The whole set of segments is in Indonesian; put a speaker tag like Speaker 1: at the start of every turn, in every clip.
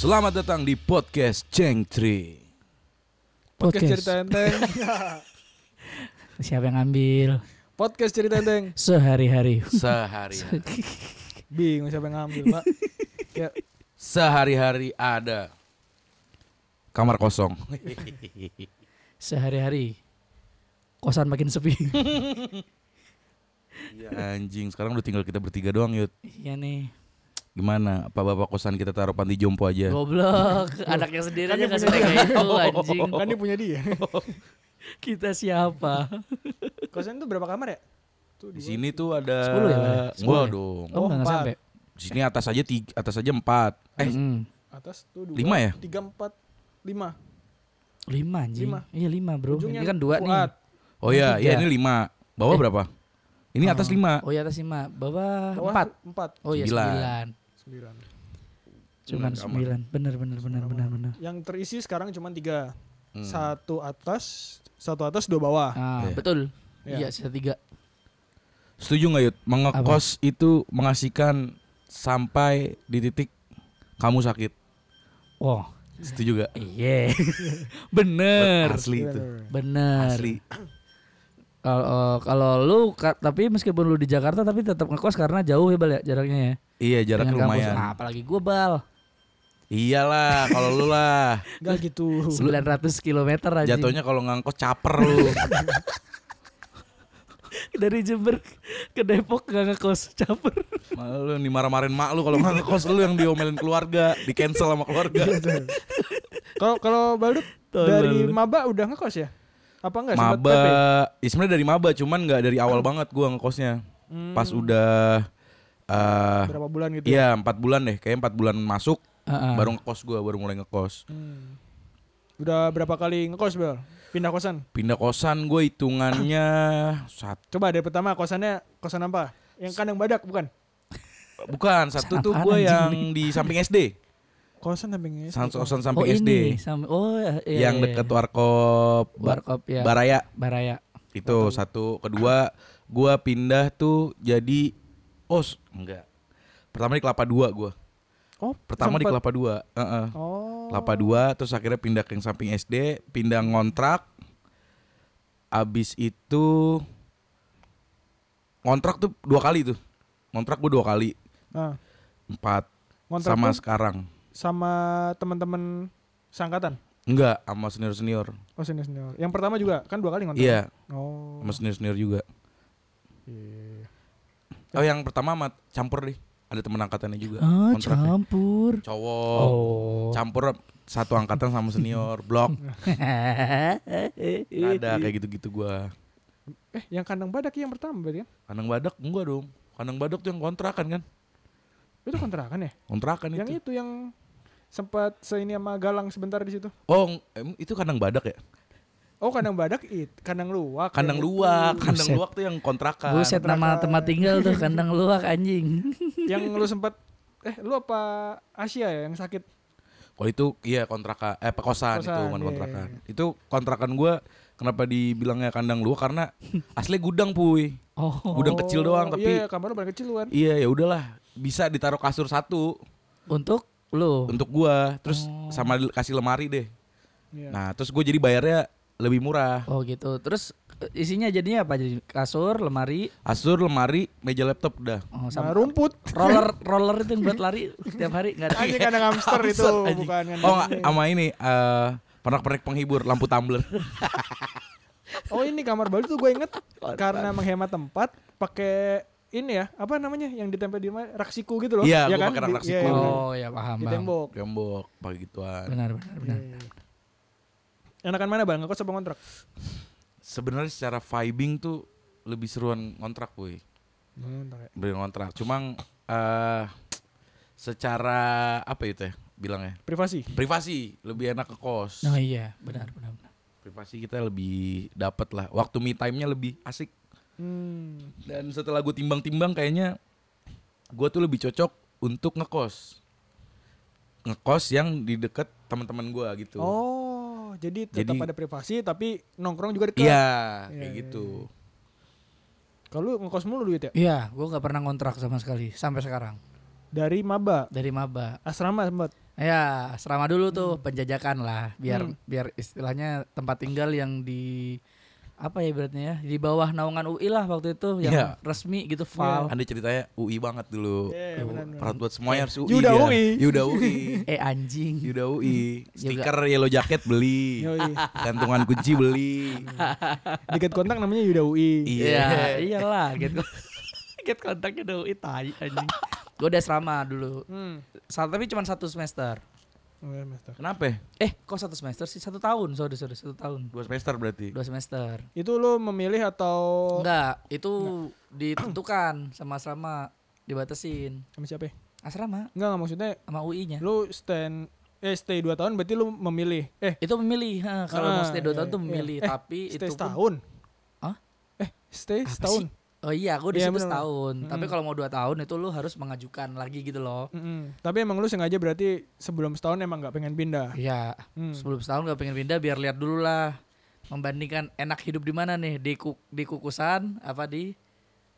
Speaker 1: Selamat datang di podcast Cengtri.
Speaker 2: Podcast,
Speaker 3: Podcast.
Speaker 2: cerita enteng.
Speaker 3: Siapa yang ambil?
Speaker 2: Podcast cerita enteng.
Speaker 3: Sehari-hari.
Speaker 1: Sehari
Speaker 2: Bingung siapa yang ngambil, Pak. Ya,
Speaker 1: sehari-hari ada kamar kosong.
Speaker 3: Sehari-hari. Kosan makin sepi.
Speaker 1: Anjing, sekarang udah tinggal kita bertiga doang, Yud.
Speaker 3: iya nih.
Speaker 1: Gimana? Pak bapak kosan kita taruh panti jompo aja.
Speaker 3: Goblok. Anaknya sendiri
Speaker 2: Kan
Speaker 3: aja
Speaker 2: dia
Speaker 3: kasih
Speaker 2: punya
Speaker 3: tega itu anjing.
Speaker 2: kan
Speaker 1: Oh.
Speaker 2: dia punya dia.
Speaker 3: Kita siapa?
Speaker 2: Kosan itu berapa kamar ya? Tuh,
Speaker 1: Di
Speaker 2: dua.
Speaker 1: sini tuh ada
Speaker 3: Sepuluh ya, Bang? Sepuluh
Speaker 1: Enggak
Speaker 3: ya?
Speaker 1: dong.
Speaker 3: Oh, enggak, enggak
Speaker 2: empat.
Speaker 3: sampai.
Speaker 1: Di sini atas aja tiga, atas aja empat. Eh,
Speaker 3: Mm.
Speaker 2: atas tuh dua.
Speaker 1: Lima ya?
Speaker 2: Tiga, empat, lima.
Speaker 3: Lima anjing.
Speaker 2: Lima.
Speaker 3: Iya lima bro.
Speaker 2: Ujungnya
Speaker 3: Ini kan dua
Speaker 2: Fuad.
Speaker 1: oh ya,
Speaker 3: Tiga.
Speaker 1: ya ini lima. Bawah
Speaker 3: Eh.
Speaker 1: berapa? Ini
Speaker 3: nih.
Speaker 1: atas
Speaker 3: Oh.
Speaker 1: lima.
Speaker 3: Oh iya atas lima. Bawah
Speaker 2: Bawah
Speaker 3: empat.
Speaker 2: Empat.
Speaker 3: Oh iya
Speaker 1: Ah. Sembilan.
Speaker 3: sembilan.
Speaker 2: Sembilan.
Speaker 3: Cuman
Speaker 1: Sembilan kamar.
Speaker 3: sembilan. Bener bener bener bener bener.
Speaker 2: Yang terisi sekarang cuma tiga.
Speaker 1: Hmm.
Speaker 2: Satu atas, satu atas, dua bawah.
Speaker 3: Ah,
Speaker 1: Iya.
Speaker 3: betul.
Speaker 2: Iya.
Speaker 3: Iya sisa tiga.
Speaker 1: Setuju nggak Yud? Mengekos itu mengasihkan sampai di titik kamu sakit.
Speaker 3: Oh
Speaker 1: Setuju gak?
Speaker 3: iya. bener.
Speaker 1: Asli itu.
Speaker 3: Bener.
Speaker 1: Asli.
Speaker 3: Kalau kalau lu ka- tapi meskipun lu di Jakarta tapi tetap ngekos karena jauh ya Bal ya jaraknya ya.
Speaker 1: Iya jaraknya
Speaker 3: Dengan kampus.
Speaker 1: lumayan.
Speaker 3: Ah, apalagi gua Bal.
Speaker 1: Iyalah kalau lu lah.
Speaker 2: Enggak gitu.
Speaker 3: 900 km aja.
Speaker 1: Jatuhnya kalau ngangkos caper lu.
Speaker 3: dari Jember ke Depok gak ngekos caper.
Speaker 1: Malah lu dimarah-marahin mak lu kalau ngangkos lu yang diomelin keluarga, di cancel sama keluarga.
Speaker 3: Iya,
Speaker 2: Kalau kalau Baldut
Speaker 3: Tolol.
Speaker 2: dari maba udah ngekos ya? Apa enggak sempat
Speaker 1: Maba,
Speaker 2: tap ya?
Speaker 1: ya sebenarnya dari maba cuman nggak dari awal banget gua ngekosnya.
Speaker 2: Hmm,
Speaker 1: Pas udah eh
Speaker 2: berapa bulan gitu? ya?
Speaker 1: Iya empat bulan deh, kayak empat bulan masuk
Speaker 3: Heeh.
Speaker 1: baru ngekos gua baru mulai ngekos.
Speaker 2: Hmm. Udah berapa kali ngekos, Bel? Pindah kosan?
Speaker 1: Pindah kosan gue hitungannya satu,
Speaker 2: Coba dari pertama kosannya kosan apa? Yang kandang badak bukan?
Speaker 1: bukan satu tuh
Speaker 3: apaan
Speaker 1: gue
Speaker 3: anjing
Speaker 1: yang di samping SD,
Speaker 2: Kosan sampingnya.
Speaker 1: Sans- kosan
Speaker 3: oh
Speaker 1: samping SD
Speaker 3: ini sam- oh iya, iya,
Speaker 1: yang
Speaker 3: iya.
Speaker 1: deket warkop Bar-
Speaker 3: Warkop
Speaker 2: Iya.
Speaker 3: ya.
Speaker 1: Baraya
Speaker 3: Baraya.
Speaker 1: Itu satu, kedua gua pindah tuh jadi os enggak. Pertama di Kelapa Dua gua.
Speaker 2: Oh,
Speaker 1: Pertama di
Speaker 2: sempet.
Speaker 1: Kelapa Dua, heeh.
Speaker 2: Oh.
Speaker 1: Kelapa Dua terus akhirnya pindah ke yang samping SD, pindah ngontrak. Abis itu ngontrak tuh dua kali tuh. Ngontrak gua dua kali,
Speaker 2: Nah,
Speaker 1: empat
Speaker 2: ngontrak
Speaker 1: sama
Speaker 2: sama
Speaker 1: sekarang.
Speaker 2: sama teman-teman sangkatan.
Speaker 1: Enggak, sama senior-senior.
Speaker 2: Oh, senior senior. Yang pertama juga kan dua kali ngontrak.
Speaker 1: Iya,
Speaker 2: Oh.
Speaker 1: sama senior-senior juga.
Speaker 2: Iya.
Speaker 1: Oh, yang pertama sama campur deh. Ada temen angkatannya juga.
Speaker 3: Ah,
Speaker 1: kontraknya.
Speaker 3: campur.
Speaker 1: Cowok.
Speaker 3: Oh.
Speaker 1: campur satu angkatan sama senior blok nggak ada kayak gitu-gitu gua
Speaker 2: Eh, yang kandang badak yang pertama berarti kan?
Speaker 1: kandang badak enggak dong kandang badak tuh yang kontrakan kan
Speaker 2: Itu kontrakan ya?
Speaker 1: kontrakan
Speaker 2: yang
Speaker 1: Kan itu
Speaker 2: itu yang sempat seini sama Galang sebentar di situ.
Speaker 1: oh ng- em, itu kandang badak ya
Speaker 2: Oh, kandang badak it, kandang luwak.
Speaker 1: kandang
Speaker 2: yang itu.
Speaker 1: luak kandang
Speaker 3: Buset.
Speaker 1: luak tuh yang kontrakan
Speaker 3: Buset nama tempat tinggal tuh kandang luak anjing.
Speaker 2: Yang lu sempat eh lu apa Asia ya yang sakit?
Speaker 1: kalau itu iya kontrakan eh pekosan itu
Speaker 2: Kosan,
Speaker 1: bukan
Speaker 2: iya,
Speaker 1: kontrakan itu kontrakan gua kenapa dibilangnya kandang luak karena asli gudang puy
Speaker 3: Oh,
Speaker 1: gudang kecil doang
Speaker 2: Oh,
Speaker 1: tapi
Speaker 2: Iya, kamar lu paling kecil kan.
Speaker 1: iya ya udahlah bisa ditaruh kasur satu
Speaker 3: untuk
Speaker 2: Oh.
Speaker 3: lu.
Speaker 1: untuk gua terus sama kasih lemari deh
Speaker 2: Iya.
Speaker 1: nah terus gue jadi bayarnya lebih murah
Speaker 3: Oh gitu. Terus eh, isinya jadinya apa? Jadi kasur, lemari,
Speaker 1: Asur, lemari, meja laptop udah.
Speaker 3: oh, sama
Speaker 2: Sama rumput.
Speaker 3: roller roller itu yang buat lari tiap hari nggak ada.
Speaker 2: Anjing kandang hamster itu
Speaker 1: Absurd, anjing.
Speaker 2: bukan kandang.
Speaker 1: Oh, nggak, sama ini eh pernak-pernik penghibur, lampu tumbler.
Speaker 2: Oh, ini kamar baru tuh gue inget karena menghemat tempat pakai ini ya, apa namanya yang ditempel di rumah raksiku gitu loh.
Speaker 1: Iya,
Speaker 2: ya
Speaker 1: gua
Speaker 2: kan?
Speaker 1: pakai
Speaker 2: Di-
Speaker 1: raksiku.
Speaker 2: iya, iya, benar.
Speaker 3: Oh ya paham
Speaker 2: Di
Speaker 3: paham.
Speaker 2: tembok.
Speaker 1: Gembok, pakai gituan.
Speaker 3: Benar benar
Speaker 1: Nah.
Speaker 3: benar.
Speaker 2: Enakan mana Bang? Ngekos apa kontrak?
Speaker 1: Sebenarnya secara vibing tuh lebih seruan kontrak, boy. Beli kontrak. Cuma eh secara apa itu ya bilangnya?
Speaker 2: Privasi.
Speaker 1: Privasi, lebih enak ke kos.
Speaker 2: Nah,
Speaker 3: Oh iya benar benar. benar.
Speaker 1: Privasi kita lebih dapat lah. Waktu me time-nya lebih asik.
Speaker 2: Hmm.
Speaker 1: Dan setelah gue timbang-timbang kayaknya gue tuh lebih cocok untuk ngekos. Ngekos yang di deket teman-teman gue gitu.
Speaker 2: Oh, jadi tetap
Speaker 1: Jadi-
Speaker 2: ada privasi tapi nongkrong juga dekat.
Speaker 1: Iya,
Speaker 2: Iya,
Speaker 1: kayak
Speaker 2: iya,
Speaker 1: gitu.
Speaker 2: Kalau lu ngekos mulu duit ya?
Speaker 3: Iya, gua nggak pernah ngontrak sama sekali sampai sekarang.
Speaker 2: dari maba
Speaker 3: dari maba.
Speaker 2: asrama sempat
Speaker 3: Ya, asrama dulu tuh
Speaker 1: Hmm.
Speaker 3: penjajakan lah, biar biar istilahnya tempat tinggal yang di apa ya beratnya ya di bawah naungan UI lah waktu itu yang
Speaker 1: Iya.
Speaker 3: resmi gitu fal
Speaker 1: Anda ceritanya UI banget dulu.
Speaker 2: Iya, benar, benar.
Speaker 1: Perantauan semuanya harus UI.
Speaker 2: Yuda
Speaker 1: dia.
Speaker 2: UI.
Speaker 1: Yuda UI.
Speaker 3: eh anjing
Speaker 1: Yuda UI. Stiker yellow jacket beli.
Speaker 2: Yoi.
Speaker 1: Gantungan kunci beli.
Speaker 2: Deket kontak namanya Yuda UI.
Speaker 3: Iya, iyalah get ko- get kontaknya udah UI tai anjing. Gue udah asrama dulu.
Speaker 2: Hmm.
Speaker 3: Sa- tapi cuma satu semester.
Speaker 2: Oh, ya, Master.
Speaker 1: Kenapa?
Speaker 3: Eh, kok satu semester sih? Satu tahun, sorry, sorry, satu tahun.
Speaker 1: Dua semester berarti.
Speaker 3: Dua semester.
Speaker 2: Itu lo memilih atau
Speaker 3: Oh. Enggak, itu ditentukan sama asrama, dibatasin.
Speaker 2: sama siapa? ya?
Speaker 3: Asrama
Speaker 2: Enggak enggak maksudnya
Speaker 3: sama UI-nya.
Speaker 2: lo stand eh stay 2 tahun berarti lo memilih. Eh,
Speaker 3: Itu memilih, ha, kalau
Speaker 2: Ah,
Speaker 3: mau stay dua tahun
Speaker 2: iya,
Speaker 3: tuh
Speaker 2: iya.
Speaker 3: memilih,
Speaker 2: Eh,
Speaker 3: tapi itu
Speaker 2: stay
Speaker 3: pun-
Speaker 2: setahun.
Speaker 3: Hah?
Speaker 2: Eh, stay
Speaker 3: Apa
Speaker 2: setahun.
Speaker 3: sih? Oh iya, Hmm. gue di
Speaker 2: Iya,
Speaker 3: situ
Speaker 2: bener.
Speaker 3: setahun. Tapi
Speaker 2: Mm.
Speaker 3: kalau mau dua tahun itu lu harus mengajukan lagi gitu loh.
Speaker 2: Mm-mm. Tapi emang lu sengaja berarti sebelum setahun emang nggak pengen pindah.
Speaker 3: Iya,
Speaker 2: Hmm.
Speaker 3: sebelum setahun gak pengen pindah biar lihat dulu lah membandingkan enak hidup di mana nih di ku- di kukusan apa di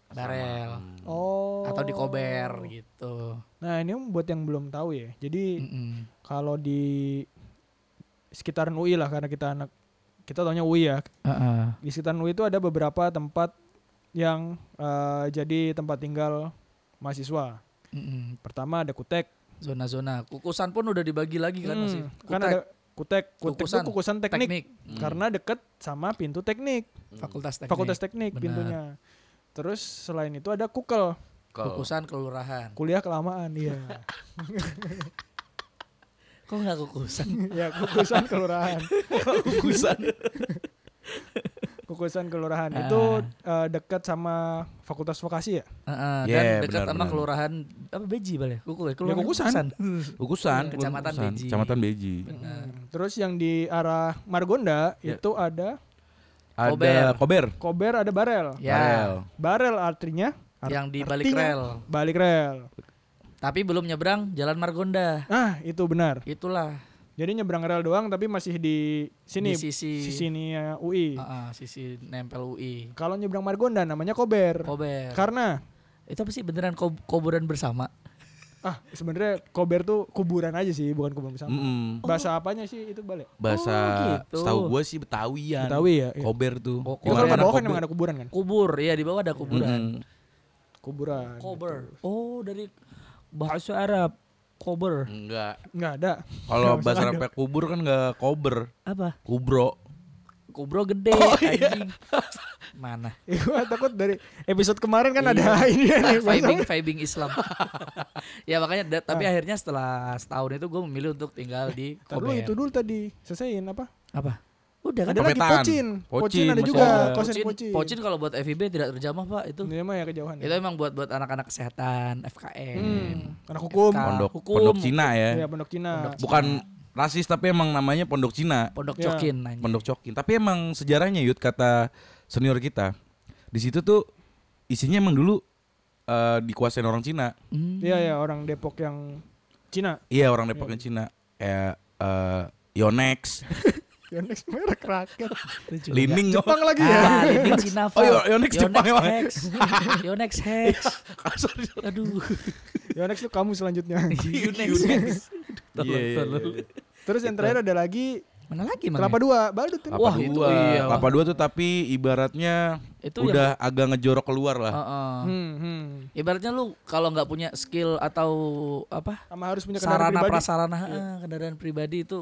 Speaker 3: barel
Speaker 1: Hmm,
Speaker 2: Oh.
Speaker 3: atau di kober Hmm. gitu
Speaker 2: Nah, ini buat yang belum tahu ya. Jadi
Speaker 3: Mm-mm.
Speaker 2: kalau di sekitaran UI lah karena kita anak kita taunya UI ya. Di sekitaran UI itu ada beberapa tempat yang eh, jadi tempat tinggal mahasiswa.
Speaker 3: Mm-mm.
Speaker 2: Pertama ada Kutek.
Speaker 3: zona-zona kukusan pun udah dibagi lagi kan
Speaker 2: Hmm,
Speaker 3: masih Kutek,
Speaker 2: kan ada Kutek. Kutek itu
Speaker 3: Kukusan.
Speaker 2: kukusan teknik,
Speaker 3: teknik,
Speaker 2: karena deket sama pintu teknik,
Speaker 3: fakultas teknik
Speaker 2: fakultas teknik
Speaker 3: Benar.
Speaker 2: pintunya. Terus selain itu ada Kukel,
Speaker 1: Kalau
Speaker 3: kukusan kelurahan
Speaker 2: kuliah kelamaan iya.
Speaker 3: kok nggak kukusan
Speaker 2: ya kukusan kelurahan.
Speaker 1: kukusan.
Speaker 2: Kukusan kelurahan itu
Speaker 3: Ah.
Speaker 2: eh, dekat sama fakultas vokasi ya?
Speaker 3: Heeh, dan
Speaker 1: Yeah,
Speaker 3: dekat
Speaker 1: benar,
Speaker 3: sama
Speaker 1: benar.
Speaker 3: kelurahan apa beji balik kuku ya, kelurahan
Speaker 2: Kukusan.
Speaker 1: Kukusan.
Speaker 3: Kecamatan
Speaker 1: Kukusan.
Speaker 3: Beji.
Speaker 1: Kecamatan Beji.
Speaker 3: Benar.
Speaker 2: Hmm. Terus yang di arah Margonda
Speaker 1: Ya.
Speaker 2: itu ada
Speaker 1: Ada Kober.
Speaker 2: Kober, ada Barel.
Speaker 3: ya
Speaker 1: Barel.
Speaker 2: Barel artinya ar-
Speaker 3: yang di balik
Speaker 2: artinya
Speaker 3: rel
Speaker 2: Balik rel.
Speaker 3: tapi belum nyebrang jalan margonda
Speaker 2: Ah, itu benar.
Speaker 3: itulah
Speaker 2: Jadi nyebrang rel doang tapi masih di sini
Speaker 3: di sisi
Speaker 2: sisinya UI.
Speaker 3: Ah, ah, sisi nempel UI.
Speaker 2: Kalau nyebrang Margonda namanya Kober.
Speaker 3: Kober.
Speaker 2: Karena
Speaker 3: itu apa sih beneran kob- kuburan bersama?
Speaker 2: ah sebenarnya Kober tuh kuburan aja sih, bukan kuburan bersama.
Speaker 3: Mm.
Speaker 1: Mm-mm.
Speaker 2: Bahasa apanya sih itu balik?
Speaker 1: Bahasa
Speaker 3: Oh, gitu. Oh,
Speaker 1: setahu gue sih Betawian.
Speaker 2: Betawi ya. iya.
Speaker 1: Kober tuh. Gimana
Speaker 3: Ko-
Speaker 2: Ya, kalau nggak
Speaker 1: ada
Speaker 2: bawah kan
Speaker 1: Kober?
Speaker 2: emang ada kuburan kan?
Speaker 3: Kubur, ya di bawah ada kuburan.
Speaker 1: Mm-mm.
Speaker 2: Kuburan.
Speaker 3: Kober. Oh, dari bahasa Arab. Kober.
Speaker 2: Mm.
Speaker 1: Enggak.
Speaker 2: Nggak ada.
Speaker 1: Kalau bahasa Arabnya kubur kan enggak kober,
Speaker 3: Apa?
Speaker 1: kubro.
Speaker 2: Oh,
Speaker 3: Kubro gede
Speaker 2: iya.
Speaker 3: anjing. Mana?
Speaker 2: Ih, Gua takut dari episode kemarin kan
Speaker 3: Iya.
Speaker 2: ada ini ya nih. bahasa-
Speaker 3: vibing vibing Islam. ya makanya da-
Speaker 2: Ah.
Speaker 3: tapi akhirnya setelah setahun itu gue memilih untuk tinggal di
Speaker 2: Ntar dulu,
Speaker 3: Kober.
Speaker 2: itu dulu tadi selesaiin apa?
Speaker 3: Apa? Udah kan?
Speaker 2: Ada lagi
Speaker 1: Pepetaan.
Speaker 2: pocin. Pocin,
Speaker 1: Pocin
Speaker 2: ada
Speaker 1: masih
Speaker 2: juga,
Speaker 1: ada.
Speaker 2: kosen
Speaker 3: Pocin,
Speaker 2: pocin.
Speaker 3: Pocin kalau buat FIB tidak terjamah, Pak, itu.
Speaker 2: Ini mah ya kejauhan. ya.
Speaker 3: Itu emang buat buat anak-anak kesehatan, FKM.
Speaker 2: Hmm, anak hukum.
Speaker 3: FK.
Speaker 1: Pondok
Speaker 3: Ah, hukum.
Speaker 1: Pondok Cina ya.
Speaker 2: Ya pondok Cina.
Speaker 3: Pondok
Speaker 1: Bukan rasis tapi emang namanya Pondok Cina,
Speaker 3: Pondok
Speaker 2: Ya.
Speaker 3: Cokin anjing.
Speaker 1: Pondok Cokin. Tapi emang sejarahnya Yud kata senior kita. Di situ tuh isinya emang dulu eh, dikuasain orang Cina.
Speaker 3: Hmm.
Speaker 2: Iya ya orang Depok yang Cina.
Speaker 1: Iya, orang Depok yang Cina. Eh eh, Yonex,
Speaker 2: Yang next merek rakyat.
Speaker 1: Lining
Speaker 2: Jepang lagi ya.
Speaker 3: Ah, Lining Cina Pak.
Speaker 1: Oh, Yo- Yonex Jepang emang.
Speaker 3: Hex. Yonex Hex.
Speaker 1: Sorry, sorry.
Speaker 3: Aduh.
Speaker 2: Yang next tuh kamu selanjutnya.
Speaker 3: Yonex. Tolong,
Speaker 1: Iya, iya,
Speaker 3: tolong.
Speaker 1: iya.
Speaker 2: Terus yang terakhir ada lagi
Speaker 3: Mana lagi mana? ya?
Speaker 2: kelapa dua, badut kan.
Speaker 1: Kelapa
Speaker 3: Wah, itu
Speaker 1: dua.
Speaker 3: iya, wah.
Speaker 1: Kelapa dua tuh tapi ibaratnya
Speaker 3: Itu yang- Ah.
Speaker 1: udah agak ngejorok keluar lah.
Speaker 3: Heeh.
Speaker 2: Hmm, hmm.
Speaker 3: Ibaratnya lu kalau nggak punya skill atau apa
Speaker 2: Sama harus punya
Speaker 3: sarana
Speaker 2: kendaraan pribadi. Iya.
Speaker 3: prasarana ah, kendaraan pribadi itu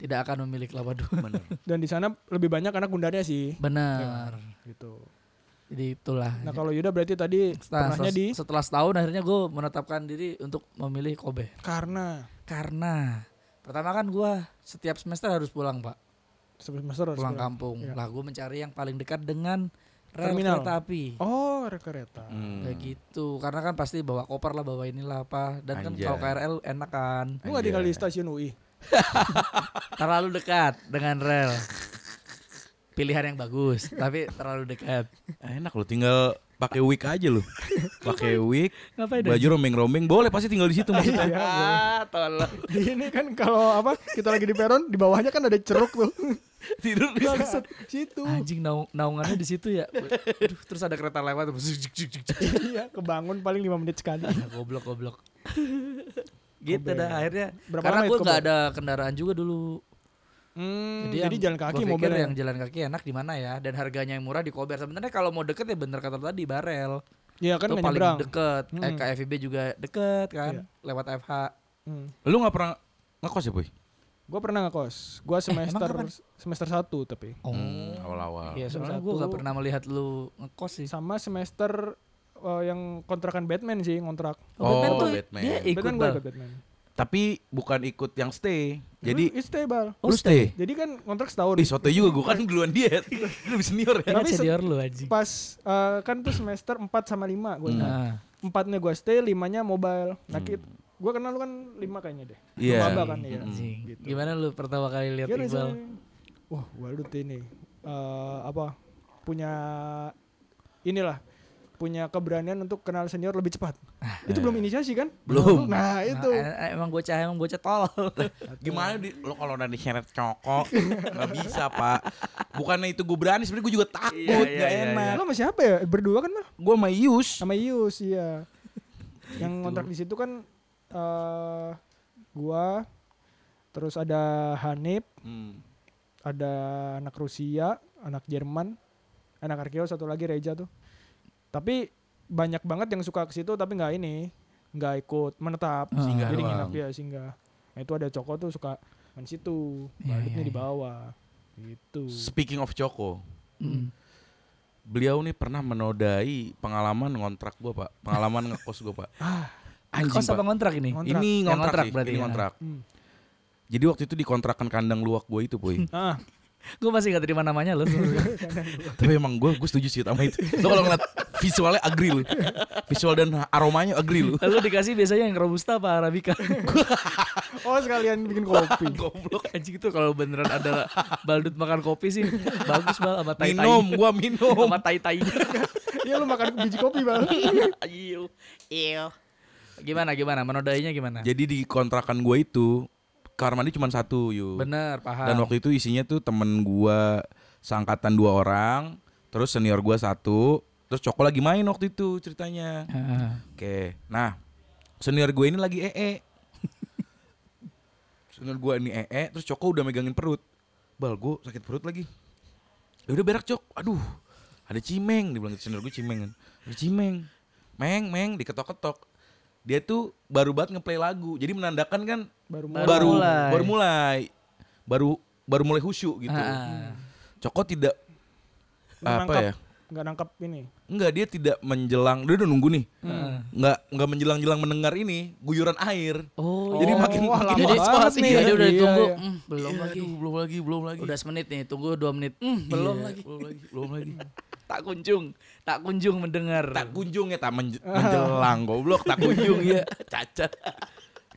Speaker 3: tidak akan memiliki kelapa dua.
Speaker 1: Bener.
Speaker 2: Dan di sana lebih banyak anak gundarnya sih.
Speaker 3: Benar.
Speaker 2: Gitu.
Speaker 3: Jadi itulah.
Speaker 2: Nah kalau Yuda berarti tadi
Speaker 3: Nah,
Speaker 2: pernahnya
Speaker 3: setelah,
Speaker 2: di
Speaker 3: setelah setahun akhirnya gue menetapkan diri untuk memilih Kobe.
Speaker 2: karena
Speaker 3: Karena pertama kan gua setiap semester harus pulang pak,
Speaker 2: sebelum semester harus
Speaker 3: pulang
Speaker 2: pulang.
Speaker 3: kampung.
Speaker 2: Iya.
Speaker 3: Lah gue mencari yang paling dekat dengan rel
Speaker 2: Terminal.
Speaker 3: kereta api.
Speaker 2: Oh rel kereta.
Speaker 1: Hmm.
Speaker 3: Kayak gitu, karena kan pasti bawa koper lah, bawa inilah apa, dan
Speaker 1: Anjay.
Speaker 3: kan kalau KRL enak kan,
Speaker 2: Lu gak tinggal di
Speaker 1: Anjay.
Speaker 2: stasiun UI.
Speaker 3: terlalu dekat dengan rel. Pilihan yang bagus, tapi terlalu dekat.
Speaker 1: Ah, Enak lo tinggal pakai wig aja lo. Pakai wig,
Speaker 3: Ngapain?
Speaker 1: baju rombeng-rombeng boleh pasti tinggal di situ maksudnya.
Speaker 3: Ah, tolong.
Speaker 2: Iya, Di ini kan kalau apa kita lagi di peron di bawahnya kan ada ceruk tuh.
Speaker 1: Tidur di situ.
Speaker 2: Bangsat, situ.
Speaker 3: Anjing naung- naungannya di situ ya. Aduh, terus ada kereta lewat, terus juk, juk, juk, juk.
Speaker 2: Iya, kebangun paling 5 menit sekali.
Speaker 3: goblok goblok. gitu
Speaker 2: Kobe.
Speaker 3: dah akhirnya
Speaker 2: Berapa
Speaker 3: karena
Speaker 2: lama
Speaker 3: gue
Speaker 2: itu
Speaker 3: nggak
Speaker 2: Kobe?
Speaker 3: ada kendaraan juga dulu
Speaker 2: Hmm, jadi,
Speaker 3: yang
Speaker 2: jalan kaki ya?
Speaker 3: gua pikir
Speaker 2: mobilnya.
Speaker 3: yang jalan kaki enak di mana ya dan harganya yang murah di Kober sebenarnya kalau mau deket ya bener kata lu tadi barel
Speaker 2: Iya kan
Speaker 3: itu
Speaker 2: nggak
Speaker 3: paling
Speaker 2: nyebrang.
Speaker 3: deket eh,
Speaker 2: Mm-mm.
Speaker 3: ke FIB juga deket kan
Speaker 2: Iya.
Speaker 3: lewat FH
Speaker 2: Hmm.
Speaker 1: Lu nggak pernah ngekos ya, Boy?
Speaker 2: Gue pernah ngekos. Gue semester
Speaker 3: kapan?
Speaker 2: semester 1 tapi
Speaker 3: oh
Speaker 1: Hmm, awal-awal.
Speaker 3: Iya, soalnya
Speaker 2: Satu.
Speaker 3: gue gak pernah melihat lu ngekos sih.
Speaker 2: sama semester eh, yang kontrakan Batman sih ngontrak.
Speaker 1: Oh,
Speaker 3: Batman tuh
Speaker 1: Batman.
Speaker 3: dia ikut
Speaker 2: Batman gue
Speaker 3: Bal.
Speaker 2: ikut Batman.
Speaker 1: Tapi bukan ikut yang stay. Jadi
Speaker 3: iya?
Speaker 2: Lu stable.
Speaker 3: Oh,
Speaker 1: lu stay.
Speaker 2: Jadi kan kontrak setahun.
Speaker 1: Ih, soto juga gue kan duluan diet. Lu lebih senior ya.
Speaker 3: Ingat
Speaker 2: Tapi se-
Speaker 3: senior lu anjing.
Speaker 2: Pas eh, kan tuh semester 4 sama 5 gue. ingat.
Speaker 3: Nah,
Speaker 2: Empatnya gue stay, limanya mobile. Nah, gue kenal lu kan 5 kayaknya deh.
Speaker 1: Iya.
Speaker 2: Maba kan ya.
Speaker 3: anjing.
Speaker 2: Gitu.
Speaker 3: Gimana lu pertama kali lihat
Speaker 2: Iya,
Speaker 3: Iqbal?
Speaker 2: rasanya. Wah, Waldut ini eh, apa punya inilah punya keberanian untuk kenal senior lebih cepat. itu belum inisiasi kan?
Speaker 1: Belum.
Speaker 3: Nah,
Speaker 2: Nah, itu.
Speaker 3: eh, eh, emang bocah emang bocah tolol.
Speaker 1: Gimana di, lo kalau udah diseret cokok nggak bisa pak. Bukannya itu gue berani, sebenarnya gue juga takut,
Speaker 3: Iya,
Speaker 1: nggak
Speaker 3: iya, iya,
Speaker 1: enak.
Speaker 2: Lo sama siapa ya? Berdua kan mah?
Speaker 1: Gue sama Yus.
Speaker 2: Sama Yus iya.
Speaker 3: Gitu.
Speaker 2: Yang kontrak di situ kan eh gua terus ada Hanif,
Speaker 1: Hmm.
Speaker 2: ada anak Rusia, anak Jerman, anak Arkeo satu lagi Reja tuh. Tapi banyak banget yang suka ke situ tapi nggak ini, nggak ikut menetap,
Speaker 1: Singgah
Speaker 2: jadi
Speaker 1: doang.
Speaker 2: nginap ya singgah. Nah, itu ada Coko tuh suka main situ,
Speaker 3: Iya,
Speaker 2: baliknya
Speaker 3: iya,
Speaker 2: di bawah. Gitu.
Speaker 1: Speaking of Coko,
Speaker 2: Hmm.
Speaker 3: Mm.
Speaker 1: beliau nih pernah menodai pengalaman ngontrak gue pak, pengalaman ngekos gue pak. Anjing,
Speaker 3: Kos apa
Speaker 1: Pak.
Speaker 3: ngontrak Ah, ini?
Speaker 2: Ngontrak.
Speaker 1: Ini
Speaker 3: Yang
Speaker 1: ngontrak,
Speaker 3: ngontrak
Speaker 1: sih,
Speaker 3: berarti
Speaker 1: ini
Speaker 3: ya.
Speaker 1: ngontrak.
Speaker 2: Hmm.
Speaker 1: Jadi waktu itu dikontrakan kandang luwak gue itu, boy.
Speaker 2: Ah,
Speaker 3: Gue masih gak terima namanya lu.
Speaker 1: Tapi emang gue gue setuju sih sama itu. Lo kalau ngeliat visualnya agree lu. Visual dan aromanya agree lu.
Speaker 3: Lalu dikasih biasanya yang robusta apa arabica?
Speaker 2: oh sekalian bikin kopi.
Speaker 1: Goblok.
Speaker 3: anjing itu kalau beneran ada baldut makan kopi sih bagus bal sama tai tai.
Speaker 1: Minum, gue minum.
Speaker 3: Sama tai tainya.
Speaker 2: Iya lu makan biji kopi bang.
Speaker 3: Iu. Iu. Iya. Gimana gimana menodainya gimana?
Speaker 1: Jadi di kontrakan gue itu kamar mandi cuma satu, yuk.
Speaker 3: Bener paham.
Speaker 1: Dan waktu itu isinya tuh temen gue seangkatan dua orang, terus senior gue satu, terus Coko lagi main waktu itu ceritanya.
Speaker 3: Heeh.
Speaker 1: Oke, nah senior gue ini lagi ee. senior gue ini ee, terus Coko udah megangin perut. Bal, gue sakit perut lagi. Ya udah berak Cok, aduh ada cimeng, dibilang gitu. senior gue cimeng kan. Ada cimeng, meng, meng, diketok-ketok. Dia tuh baru banget ngeplay lagu, jadi menandakan kan
Speaker 2: Baru
Speaker 3: Baru
Speaker 2: mulai.
Speaker 1: baru
Speaker 3: mulai.
Speaker 1: baru mulai baru baru mulai khusyuk gitu.
Speaker 3: Ah.
Speaker 1: Coko tidak
Speaker 2: Nggak
Speaker 1: apa
Speaker 2: nangkap.
Speaker 1: ya?
Speaker 2: nggak nangkap ini.
Speaker 1: Enggak, dia tidak menjelang. Dia udah nunggu nih.
Speaker 3: Heeh.
Speaker 1: Nggak nggak menjelang-jelang mendengar ini guyuran air.
Speaker 3: Oh,
Speaker 1: Jadi
Speaker 3: iya.
Speaker 1: makin
Speaker 2: wah,
Speaker 1: makin
Speaker 2: lama
Speaker 3: jadi,
Speaker 1: was-was
Speaker 2: banget
Speaker 1: nih.
Speaker 2: nih.
Speaker 3: jadi udah
Speaker 2: Iya,
Speaker 3: ditunggu
Speaker 2: iya.
Speaker 3: mm, belum
Speaker 1: Iya,
Speaker 3: lagi.
Speaker 1: aduh, belum lagi, belum lagi.
Speaker 3: Udah semenit nih, tunggu dua menit. Mm, belum
Speaker 1: Iya,
Speaker 3: lagi.
Speaker 1: Belum lagi, belum lagi.
Speaker 3: Tak kunjung, tak kunjung mendengar.
Speaker 1: tak kunjung ya, tak menj- menjelang goblok, tak kunjung ya, cacat.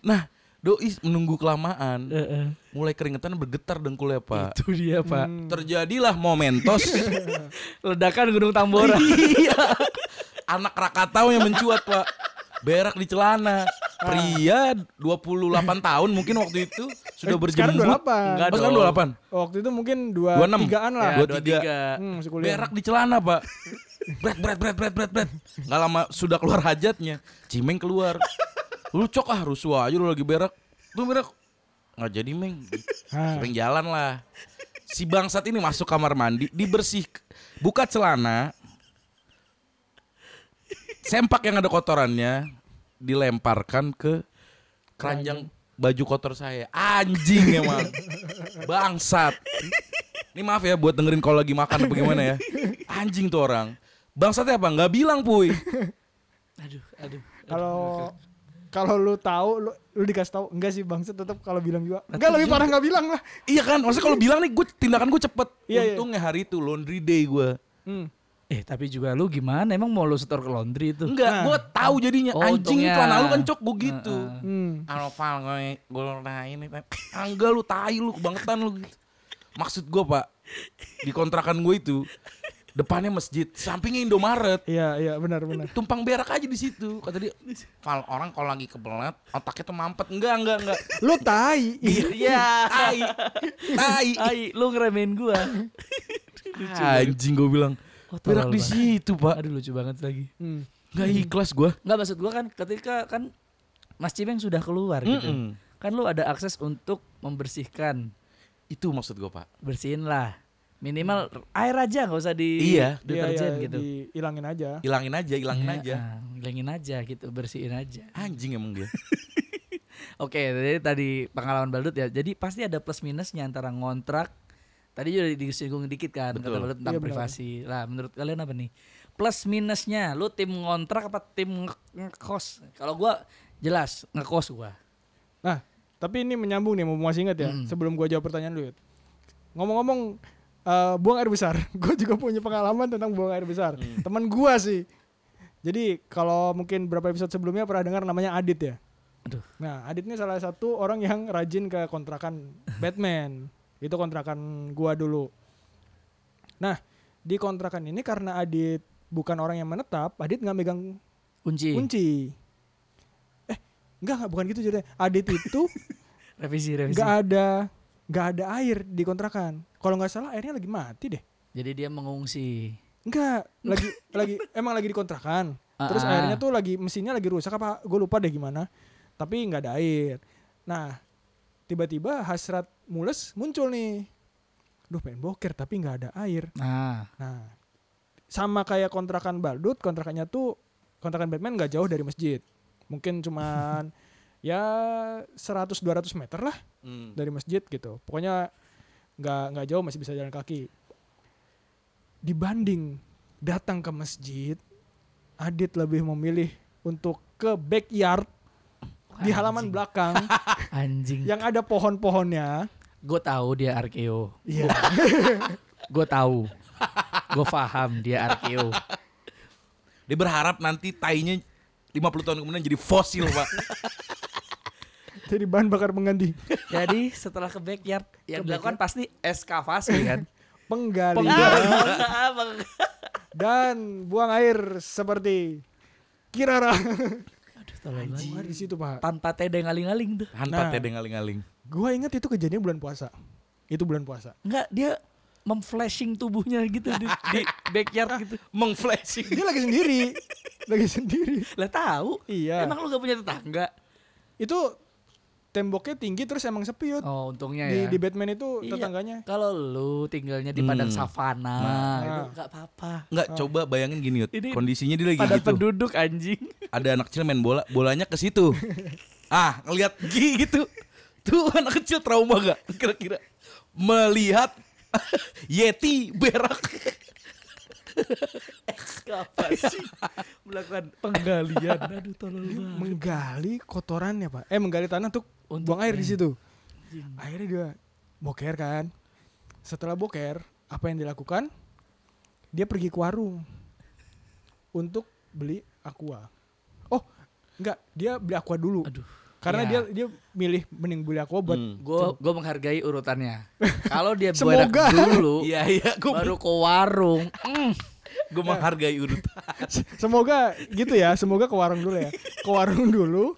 Speaker 1: Nah, Doi menunggu kelamaan,
Speaker 3: Heeh.
Speaker 1: mulai keringetan bergetar dengkulnya, Pak.
Speaker 3: Itu dia, Pak.
Speaker 1: Terjadilah momentos
Speaker 3: Ledakan Gunung Tambora.
Speaker 1: Iya. Anak Krakatau yang mencuat, Pak. Berak di
Speaker 2: Ah.
Speaker 1: celana. Pria 28 tahun mungkin waktu itu sudah
Speaker 2: Eh, Sekarang
Speaker 1: berjemur.
Speaker 2: 28.
Speaker 3: Enggak.
Speaker 1: Oh, sekarang 28.
Speaker 2: Waktu itu mungkin
Speaker 1: 26.
Speaker 2: 23-an
Speaker 1: Ya,
Speaker 2: lah.
Speaker 3: Dua Iya.
Speaker 1: Dua tiga.
Speaker 3: tiga.
Speaker 2: Hmm, masih kuliah.
Speaker 1: Berak di celana, Pak. Bret, bret, bret, bret, bret, bret. Nggak lama sudah keluar hajatnya. Cimeng keluar. Lu cok ah, rusuh aja lu lagi berak. Lu berak. Nggak jadi, Meng.
Speaker 2: Hah.
Speaker 1: Sering jalan lah. Si bangsat ini masuk kamar mandi, dibersih, buka celana, sempak yang ada kotorannya, dilemparkan ke keranjang baju kotor saya. Anjing emang. Bangsat. Ini maaf ya buat dengerin kalau lagi makan apa gimana ya. Anjing tuh orang. Bangsatnya apa? Nggak bilang puy.
Speaker 3: Aduh, aduh.
Speaker 2: Kalau kalau lu tahu lu, lu dikasih tahu enggak sih bangsa tetap kalau bilang juga enggak lebih parah enggak bilang lah
Speaker 1: Iya kan? Maksudnya kalau bilang nih gue tindakan gue cepet.
Speaker 2: Iya, iya.
Speaker 1: Untungnya hari itu laundry day gue.
Speaker 2: hmm.
Speaker 3: Eh, tapi juga lu gimana? Emang mau lu setor ke laundry itu?
Speaker 1: Enggak, gue tahu jadinya
Speaker 3: Oh,
Speaker 1: anjing
Speaker 3: untungnya.
Speaker 1: celana lu kan cok gue gitu.
Speaker 3: Heeh.
Speaker 2: hmm.
Speaker 1: Alval gue gue ini Angga lu tai lu kebangetan lu gitu. Maksud gue pak di kontrakan gue itu depannya masjid, sampingnya Indomaret.
Speaker 2: iya iya benar benar
Speaker 1: Tumpang berak aja di situ. Kata dia, Val orang kalau lagi kebelet otaknya tuh mampet. Enggak, enggak, enggak.
Speaker 2: lu tai
Speaker 3: Iya.
Speaker 1: Tai. Tai.
Speaker 3: Ai, lu ngeremehin gua.
Speaker 1: Anjing gue bilang.
Speaker 3: Oh,
Speaker 1: Berak
Speaker 3: tolol
Speaker 1: di
Speaker 3: banget.
Speaker 1: situ, Pak.
Speaker 3: Aduh lucu banget lagi.
Speaker 2: hmm.
Speaker 1: Enggak ikhlas gue.
Speaker 3: Enggak maksud gua kan ketika kan Mas Cimeng sudah keluar gitu.
Speaker 1: Mm-mm.
Speaker 3: Kan lu ada akses untuk membersihkan.
Speaker 1: Itu maksud gue pak.
Speaker 3: Bersihinlah. Minimal air aja nggak usah di
Speaker 1: Iya.
Speaker 2: Iya, iya,
Speaker 3: deterjen gitu.
Speaker 2: dihilangin aja.
Speaker 1: Hilangin aja, hilangin
Speaker 3: Ya,
Speaker 1: aja.
Speaker 3: ah, Hilangin aja gitu, bersihin aja.
Speaker 1: Anjing emang dia.
Speaker 3: Oke, jadi tadi pengalaman Baldut ya. Jadi pasti ada plus minusnya antara ngontrak. Tadi juga disinggung dikit kan kata
Speaker 1: Betul.
Speaker 3: Baldut tentang
Speaker 2: Iya, benar.
Speaker 3: privasi. Lah, menurut kalian apa nih? Plus minusnya, lu tim ngontrak apa tim nge- ngekos? Kalau gua jelas ngekos gua.
Speaker 2: Nah, tapi ini menyambung nih, mau masih ingat ya.
Speaker 3: Mm.
Speaker 2: Sebelum gua jawab pertanyaan lu, Yud. ngomong-ngomong eh, buang air besar, gue juga punya pengalaman tentang buang air besar. Teman gua sih. Jadi kalau mungkin berapa episode sebelumnya pernah dengar namanya Adit ya.
Speaker 3: Aduh.
Speaker 2: Nah, Adit ini salah satu orang yang rajin ke kontrakan Batman. Itu kontrakan gua dulu. Nah, di kontrakan ini karena Adit bukan orang yang menetap, Adit nggak megang
Speaker 3: Kunci.
Speaker 2: kunci. Eh, enggak enggak bukan gitu ceritanya. Adit itu
Speaker 3: Revisi, revisi.
Speaker 2: nggak ada nggak ada air di kontrakan. Kalau nggak salah airnya lagi mati deh.
Speaker 3: Jadi dia mengungsi.
Speaker 2: Enggak, lagi lagi emang lagi di kontrakan. Terus
Speaker 3: Ah, ah.
Speaker 2: airnya tuh lagi mesinnya lagi rusak apa gue lupa deh gimana. Tapi nggak ada air. Nah, tiba-tiba hasrat mules muncul nih. Duh pengen boker tapi nggak ada air.
Speaker 3: Nah,
Speaker 2: Nah, sama kayak kontrakan Baldut, kontrakannya tuh kontrakan Batman nggak jauh dari masjid. Mungkin cuman ya 100-200 meter lah
Speaker 1: Hmm.
Speaker 2: dari masjid gitu. Pokoknya nggak nggak jauh masih bisa jalan kaki. Dibanding datang ke masjid, Adit lebih memilih untuk ke backyard di halaman belakang
Speaker 3: anjing.
Speaker 2: yang ada pohon-pohonnya.
Speaker 3: Gue tahu dia arkeo.
Speaker 2: Iya.
Speaker 3: Gue tahu. Gue paham dia arkeo.
Speaker 1: Dia berharap nanti tainya 50 tahun kemudian jadi fosil pak.
Speaker 2: Jadi bahan bakar pengganti.
Speaker 3: Jadi setelah ke backyard yang dilakukan pasti eskavasi kan.
Speaker 2: Penggalian.
Speaker 3: Ah, bang.
Speaker 2: dan buang air seperti kirara.
Speaker 3: Aduh, tolong banget.
Speaker 2: Buang air di situ pak.
Speaker 3: Tanpa teda yang ngaling-ngaling tuh.
Speaker 1: Hantat
Speaker 2: Nah.
Speaker 1: ya dengan ngaling-ngaling.
Speaker 2: Gua ingat itu kejadian bulan puasa. Itu bulan puasa.
Speaker 3: Enggak, dia memflashing tubuhnya gitu di, di backyard gitu.
Speaker 1: Mengflashing.
Speaker 2: Dia lagi sendiri, lagi sendiri.
Speaker 3: Lah tahu.
Speaker 2: Iya.
Speaker 3: Emang lu gak punya tetangga?
Speaker 2: Itu temboknya tinggi terus emang sepi Yud.
Speaker 3: Oh, untungnya
Speaker 2: di,
Speaker 3: ya.
Speaker 2: di Batman itu
Speaker 3: Iya.
Speaker 2: tetangganya.
Speaker 3: Kalau lu tinggalnya di padang
Speaker 1: Hmm.
Speaker 3: savana,
Speaker 1: Nah.
Speaker 3: itu nggak apa-apa.
Speaker 1: Nggak coba bayangin gini Yud.
Speaker 3: Oh. Ini
Speaker 1: Kondisinya dia lagi
Speaker 3: Padang
Speaker 1: gitu.
Speaker 3: penduduk anjing.
Speaker 1: Ada anak kecil main bola, bolanya ke situ. ah, ngelihat gitu. Tuh anak kecil trauma gak? Kira-kira melihat Yeti berak.
Speaker 3: Ekskavasi melakukan penggalian. Aduh, tolong banget.
Speaker 2: Menggali kotorannya pak. Eh menggali tanah tuh
Speaker 3: Untuk-
Speaker 2: buang air di situ.
Speaker 3: Anjing.
Speaker 2: Akhirnya dia boker kan. Setelah boker, apa yang dilakukan? Dia pergi ke warung untuk beli aqua. Oh, enggak, dia beli aqua dulu.
Speaker 3: Aduh. Iya.
Speaker 2: Karena dia dia milih mending beli aqua buat
Speaker 1: Hmm.
Speaker 3: Gue gue menghargai urutannya. Kalau dia
Speaker 2: Semoga.
Speaker 3: berak dulu,
Speaker 1: Iya iya, gue
Speaker 3: baru ke warung. Mm.
Speaker 1: gue menghargai
Speaker 3: Iya.
Speaker 1: urutan.
Speaker 2: semoga gitu ya, semoga ke warung dulu ya. Ke warung dulu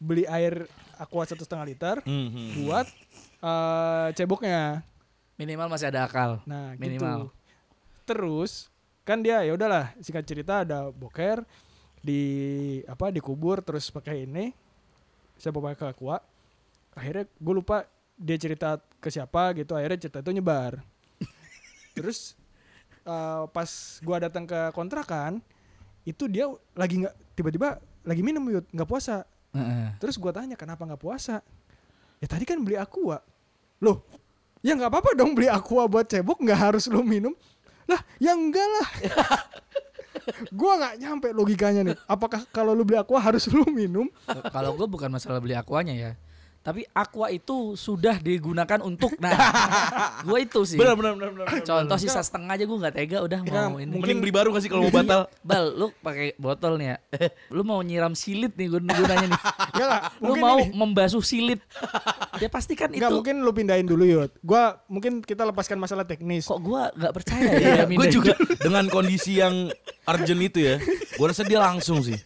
Speaker 2: beli air aqua satu setengah liter
Speaker 1: Mhm.
Speaker 2: buat eh, ceboknya.
Speaker 3: Minimal masih ada akal.
Speaker 2: Nah,
Speaker 3: Minimal.
Speaker 2: gitu. Terus kan dia ya udahlah singkat cerita ada boker di apa dikubur terus pakai ini saya bawa ke aqua akhirnya gue lupa dia cerita ke siapa gitu akhirnya cerita itu nyebar terus eh, pas gua datang ke kontrakan itu dia lagi nggak tiba-tiba lagi minum yud nggak puasa
Speaker 3: Heeh.
Speaker 2: Terus gua tanya kenapa nggak puasa? Ya tadi kan beli aqua. Loh, ya nggak apa-apa dong beli aqua buat cebok nggak harus lu minum. Lah, ya enggak lah. gua nggak nyampe logikanya nih. Apakah kalau lu beli aqua harus lu minum?
Speaker 3: Kalau gue bukan masalah beli aquanya ya. Tapi aqua itu sudah digunakan untuk nah. gue itu sih.
Speaker 1: Benar benar benar benar.
Speaker 3: Contoh sisa setengah aja gue nggak tega udah
Speaker 2: Ya,
Speaker 3: mau ini.
Speaker 1: Mending beli baru gak sih kalau mau batal?
Speaker 3: Bal, lu pakai botol nih ya. Lu mau nyiram silit nih gun- gunanya nih.
Speaker 2: Ya nggak,
Speaker 3: Lu
Speaker 2: mungkin
Speaker 3: mau
Speaker 2: ini-
Speaker 3: membasuh silit. Ya pastikan itu.
Speaker 2: nggak, mungkin lu pindahin dulu Yud. Gua mungkin kita lepaskan masalah teknis.
Speaker 3: Kok gua nggak percaya ya?
Speaker 1: Iya,
Speaker 3: Minda?
Speaker 1: gue juga dengan kondisi yang urgent itu ya, gue rasa dia langsung sih.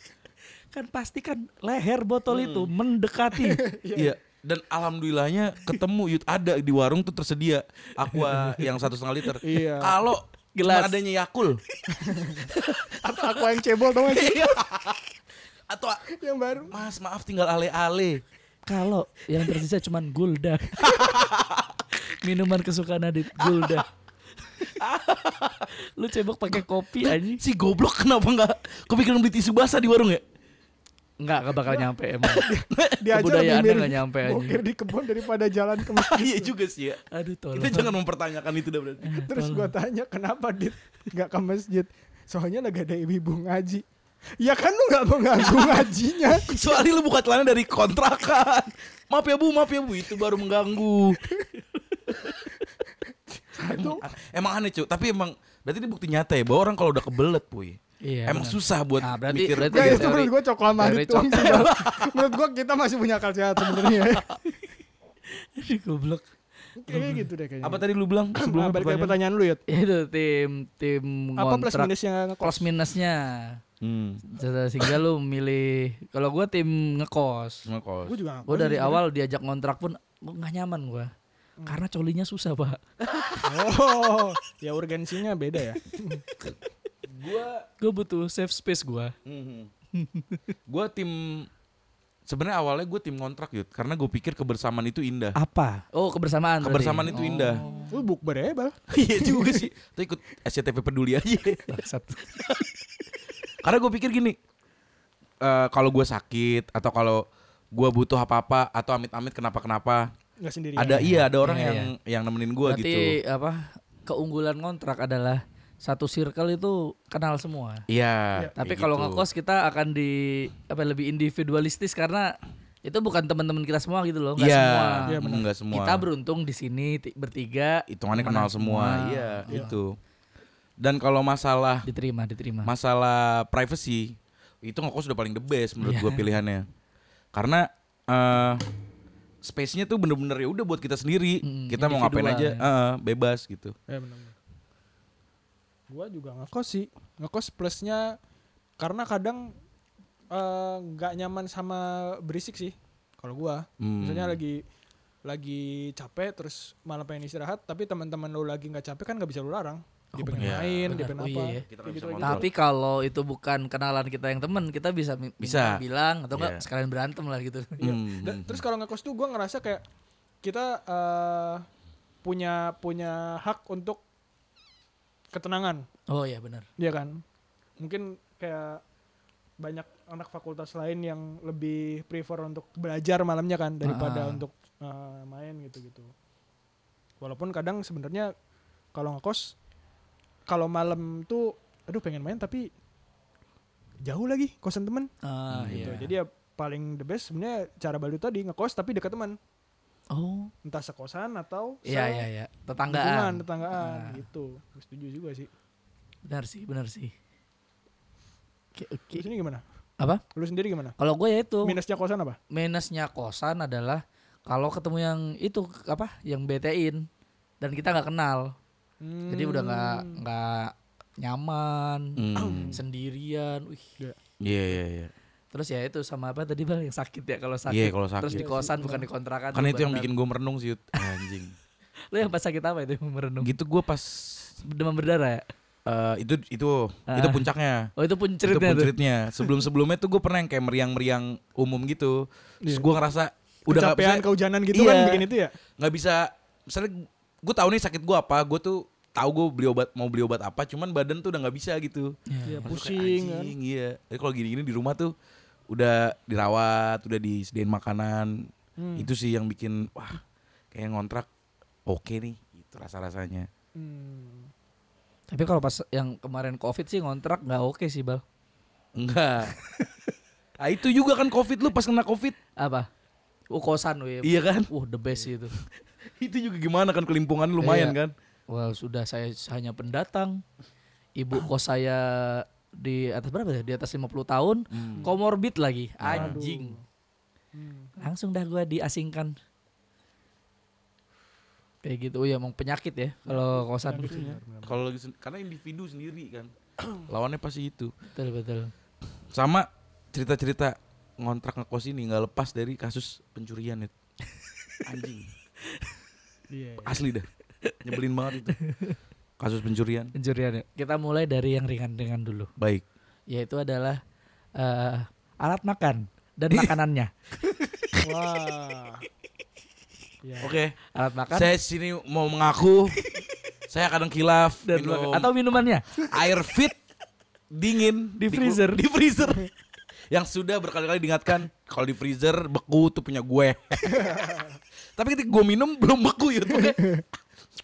Speaker 3: Kan pastikan leher botol itu
Speaker 2: Hmm.
Speaker 3: mendekati.
Speaker 1: Iya. Dan alhamdulillahnya ketemu Yud ada di warung tuh tersedia aqua yang satu setengah liter.
Speaker 2: Iya.
Speaker 1: Kalau
Speaker 3: Gelas.
Speaker 1: cuma adanya Yakul,
Speaker 3: Iya.
Speaker 2: Atau aqua yang cebol dong.
Speaker 1: atau
Speaker 2: yang baru
Speaker 1: Mas maaf tinggal ale-ale.
Speaker 3: Kalau yang tersisa cuman Gulda. Minuman kesukaan Adit Gulda. Lu cebok pakai kopi anjing.
Speaker 1: Si goblok kenapa nggak kepikiran beli tisu basah di warung ya?
Speaker 3: Enggak, enggak bakal nyampe emang.
Speaker 2: diajar
Speaker 3: Kebudayaannya
Speaker 2: lebih mirip
Speaker 3: nggak nyampe, anjing.
Speaker 2: boker di kebun daripada jalan ke
Speaker 1: Ah,
Speaker 2: masjid
Speaker 1: Iya juga sih ya.
Speaker 3: Aduh tolong.
Speaker 1: Kita jangan mempertanyakan itu dah berarti.
Speaker 2: terus gua tanya kenapa dit nggak ke masjid soalnya lagi ada ibu ngaji ya kan lu nggak mengganggu ngajinya
Speaker 1: Soalnya lu buka celana dari kontrakan. Maaf ya bu, maaf ya bu, itu baru mengganggu.
Speaker 2: satu
Speaker 1: Emang aneh cuy, tapi emang berarti ini bukti nyata ya bahwa orang kalau udah kebelet puy,
Speaker 3: Iya,
Speaker 1: emang
Speaker 3: benar.
Speaker 1: susah buat
Speaker 3: Ah, berarti-
Speaker 1: mikir. gitu.
Speaker 3: berarti
Speaker 2: Nah,
Speaker 3: Tiga
Speaker 2: itu menurut
Speaker 3: teori.
Speaker 2: gue coklat
Speaker 3: Teori
Speaker 2: marit doang sih, Bang. menurut gue kita masih punya akal sehat sebenarnya ya.
Speaker 3: Aduh, goblok.
Speaker 2: Kayaknya gitu deh
Speaker 3: Hmm.
Speaker 2: kayaknya.
Speaker 1: Apa tadi lu bilang
Speaker 2: Nah,
Speaker 1: sebelum
Speaker 2: balik ke pertanyaan lu, Yud.
Speaker 3: Ya Itu tim tim
Speaker 2: Apa plus
Speaker 3: ngontrak.
Speaker 2: minusnya ngekos?
Speaker 3: Plus minusnya.
Speaker 1: Hmm,
Speaker 3: Sehingga lu memilih kalau gua tim ngekos.
Speaker 2: Gue juga
Speaker 3: Gue Oh, dari awal diajak ngontrak pun gue nggak nyaman gue. Karena colinya susah pak.
Speaker 2: Oh, ya urgensinya beda ya.
Speaker 1: Gua
Speaker 3: Gue butuh safe space gue.
Speaker 1: Gue Hmm, tim sebenarnya awalnya gue tim kontrak yud karena gue pikir kebersamaan itu indah
Speaker 3: Apa? Oh kebersamaan. Oh. berarti.
Speaker 1: kebersamaan itu indah
Speaker 2: Lu bukber ya, Bal.
Speaker 1: iya juga sih Tuh ikut SCTV peduli aja
Speaker 3: Bangsat.
Speaker 1: karena gue pikir gini eh, kalau gue sakit atau kalau gue butuh apa apa atau amit amit kenapa kenapa
Speaker 2: Enggak sendiri.
Speaker 1: ada iya ada orang
Speaker 3: Iya,
Speaker 1: yang yang nemenin gue
Speaker 3: Berarti
Speaker 1: gitu
Speaker 3: apa? Keunggulan kontrak adalah satu circle itu kenal semua.
Speaker 1: iya
Speaker 3: Tapi
Speaker 1: kayak
Speaker 3: kalau
Speaker 1: gitu.
Speaker 3: ngekos kita akan di apa lebih individualistis karena itu bukan teman-teman kita semua gitu loh. Gak
Speaker 1: iya
Speaker 3: semua.
Speaker 2: Iya, benar.
Speaker 1: nggak semua
Speaker 3: Kita beruntung di sini ti- bertiga
Speaker 1: hitungannya kenal semua iya
Speaker 2: Iya.
Speaker 1: itu dan kalau masalah
Speaker 3: diterima diterima.
Speaker 1: masalah privacy itu ngekos udah paling the best menurut gua pilihannya karena eh space-nya tuh bener-bener ya udah buat kita sendiri
Speaker 3: Mm,
Speaker 1: kita mau ngapain aja eh,
Speaker 3: individual
Speaker 1: eh, bebas gitu
Speaker 3: Iya,
Speaker 2: Ya, benar. Gue juga ngekos sih. Ngekos plusnya karena kadang eh, nggak nyaman sama berisik sih. Kalau gua
Speaker 1: Hmm.
Speaker 2: misalnya lagi lagi capek terus malah pengen istirahat tapi teman-teman lu lagi nggak capek kan nggak bisa lu larang dia
Speaker 3: Oh,
Speaker 2: pengen
Speaker 1: benar.
Speaker 2: main
Speaker 3: Benar.
Speaker 2: dia pengen
Speaker 3: Oh,
Speaker 2: apa
Speaker 3: iya
Speaker 1: Kita
Speaker 3: ya.
Speaker 1: nggak bisa
Speaker 2: Gitu-gitu.
Speaker 1: gitu. kontrol.
Speaker 3: Tapi kalau itu bukan kenalan kita yang temen, kita bisa mi-
Speaker 1: Bisa.
Speaker 3: minta bilang atau enggak
Speaker 1: Iya.
Speaker 3: sekalian berantem lah gitu.
Speaker 1: Hmm.
Speaker 2: Dan- terus kalau ngekos tuh gue ngerasa kayak kita eh, punya punya hak untuk ketenangan,
Speaker 3: Oh iya benar.
Speaker 2: ya kan? Mungkin kayak banyak anak fakultas lain yang lebih prefer untuk belajar malamnya kan daripada
Speaker 3: Ah.
Speaker 2: untuk eh, main gitu-gitu. Walaupun kadang sebenarnya kalau ngekos kalau malam tuh aduh pengen main tapi jauh lagi kosan temen
Speaker 3: Ah,
Speaker 1: Hmm,
Speaker 3: iya.
Speaker 2: gitu. Jadi ya paling the best sebenarnya cara baru tadi ngekos tapi dekat teman.
Speaker 3: Oh,
Speaker 2: entah sekosan atau
Speaker 3: iya iya iya. Tetanggaan. Ah.
Speaker 2: tetanggaan gitu. Gua Setuju juga sih.
Speaker 3: Benar sih, benar sih. Oke, oke.
Speaker 2: Lu sini gimana?
Speaker 3: Apa?
Speaker 2: Lu sendiri gimana?
Speaker 3: Kalau gue ya itu
Speaker 2: Minusnya kosan apa?
Speaker 3: minusnya kosan adalah kalau ketemu yang itu apa? Yang BT-in dan kita nggak kenal. Jadi udah nggak nggak nyaman,
Speaker 1: Hmm.
Speaker 3: sendirian. Wih.
Speaker 1: iya iya iya
Speaker 3: Terus ya itu sama apa tadi Bang yang sakit ya kalau sakit.
Speaker 1: Iya, kalau
Speaker 3: Terus di
Speaker 1: sakit.
Speaker 3: kosan bukan di kontrakan.
Speaker 1: karena
Speaker 3: tuh,
Speaker 1: itu yang
Speaker 3: benar.
Speaker 1: bikin gue merenung sih Yud. anjing
Speaker 3: Lu yang pas sakit apa itu yang merenung?
Speaker 1: gitu gue pas
Speaker 3: Demam berdarah ya?
Speaker 1: eh, itu itu itu
Speaker 3: Ah.
Speaker 1: puncaknya
Speaker 3: Oh itu pun
Speaker 1: itu
Speaker 3: ceritanya tuh.
Speaker 1: puncritnya sebelum sebelumnya tuh gue pernah yang kayak meriang-meriang umum gitu terus gue ngerasa udah nggak
Speaker 2: Iya. Hmm. kecapean
Speaker 1: bisa-
Speaker 2: kehujanan gitu
Speaker 1: Iya.
Speaker 2: kan bikin itu ya?
Speaker 1: nggak bisa misalnya gue tahu nih sakit gue apa gue tuh tahu gue beli obat mau beli obat apa cuman badan tuh udah nggak bisa gitu
Speaker 2: Iya,
Speaker 1: Maksudnya
Speaker 2: pusing
Speaker 1: kayak
Speaker 2: kan.
Speaker 1: anjing, iya Jadi kalau gini-gini di rumah tuh udah dirawat udah disediain makanan
Speaker 2: Hmm.
Speaker 1: itu sih yang bikin wah kayak ngontrak oke nih itu rasa rasanya
Speaker 2: Hmm.
Speaker 3: Tapi kalau pas yang kemarin covid sih ngontrak nggak oke sih bal.
Speaker 1: enggak ah itu juga kan covid lu pas kena covid
Speaker 3: Apa? Oh kosan weh.
Speaker 1: iya kan
Speaker 3: Wah the best gitu. sih itu.
Speaker 1: itu juga gimana kan kelimpungan lumayan
Speaker 3: Iya.
Speaker 1: kan
Speaker 3: Wah sudah saya hanya pendatang. Ibu kos saya di atas berapa ya? Di atas 50 tahun.
Speaker 1: Hmm.
Speaker 3: Komorbid lagi. Anjing.
Speaker 2: Hmm.
Speaker 3: Langsung dah gua diasingkan. Kayak gitu. Oh iya emang penyakit ya kalau kosan.
Speaker 1: ya.
Speaker 2: Iya.
Speaker 1: kalau lagi sen- karena individu sendiri kan lawannya pasti itu
Speaker 3: Betul betul.
Speaker 1: sama cerita-cerita ngontrak ngekos ini nggak lepas dari kasus pencurian Nit. anjing
Speaker 2: Iya.
Speaker 1: asli dah nyebelin banget itu kasus pencurian
Speaker 3: Pencurian ya. Kita mulai dari yang ringan-ringan dulu.
Speaker 1: baik
Speaker 3: yaitu adalah eh alat makan dan makanannya.
Speaker 2: iya. Wah. Ya.
Speaker 1: Oke,
Speaker 3: alat makan
Speaker 1: saya sini mau mengaku saya kadang kilaf
Speaker 3: dan
Speaker 1: minum
Speaker 3: atau minumannya.
Speaker 1: air fit dingin
Speaker 3: Di freezer.
Speaker 1: di freezer. Yang sudah berkali-kali diingatkan kalau di freezer beku tuh punya gue. Tapi ketika gue minum belum beku ya tuh.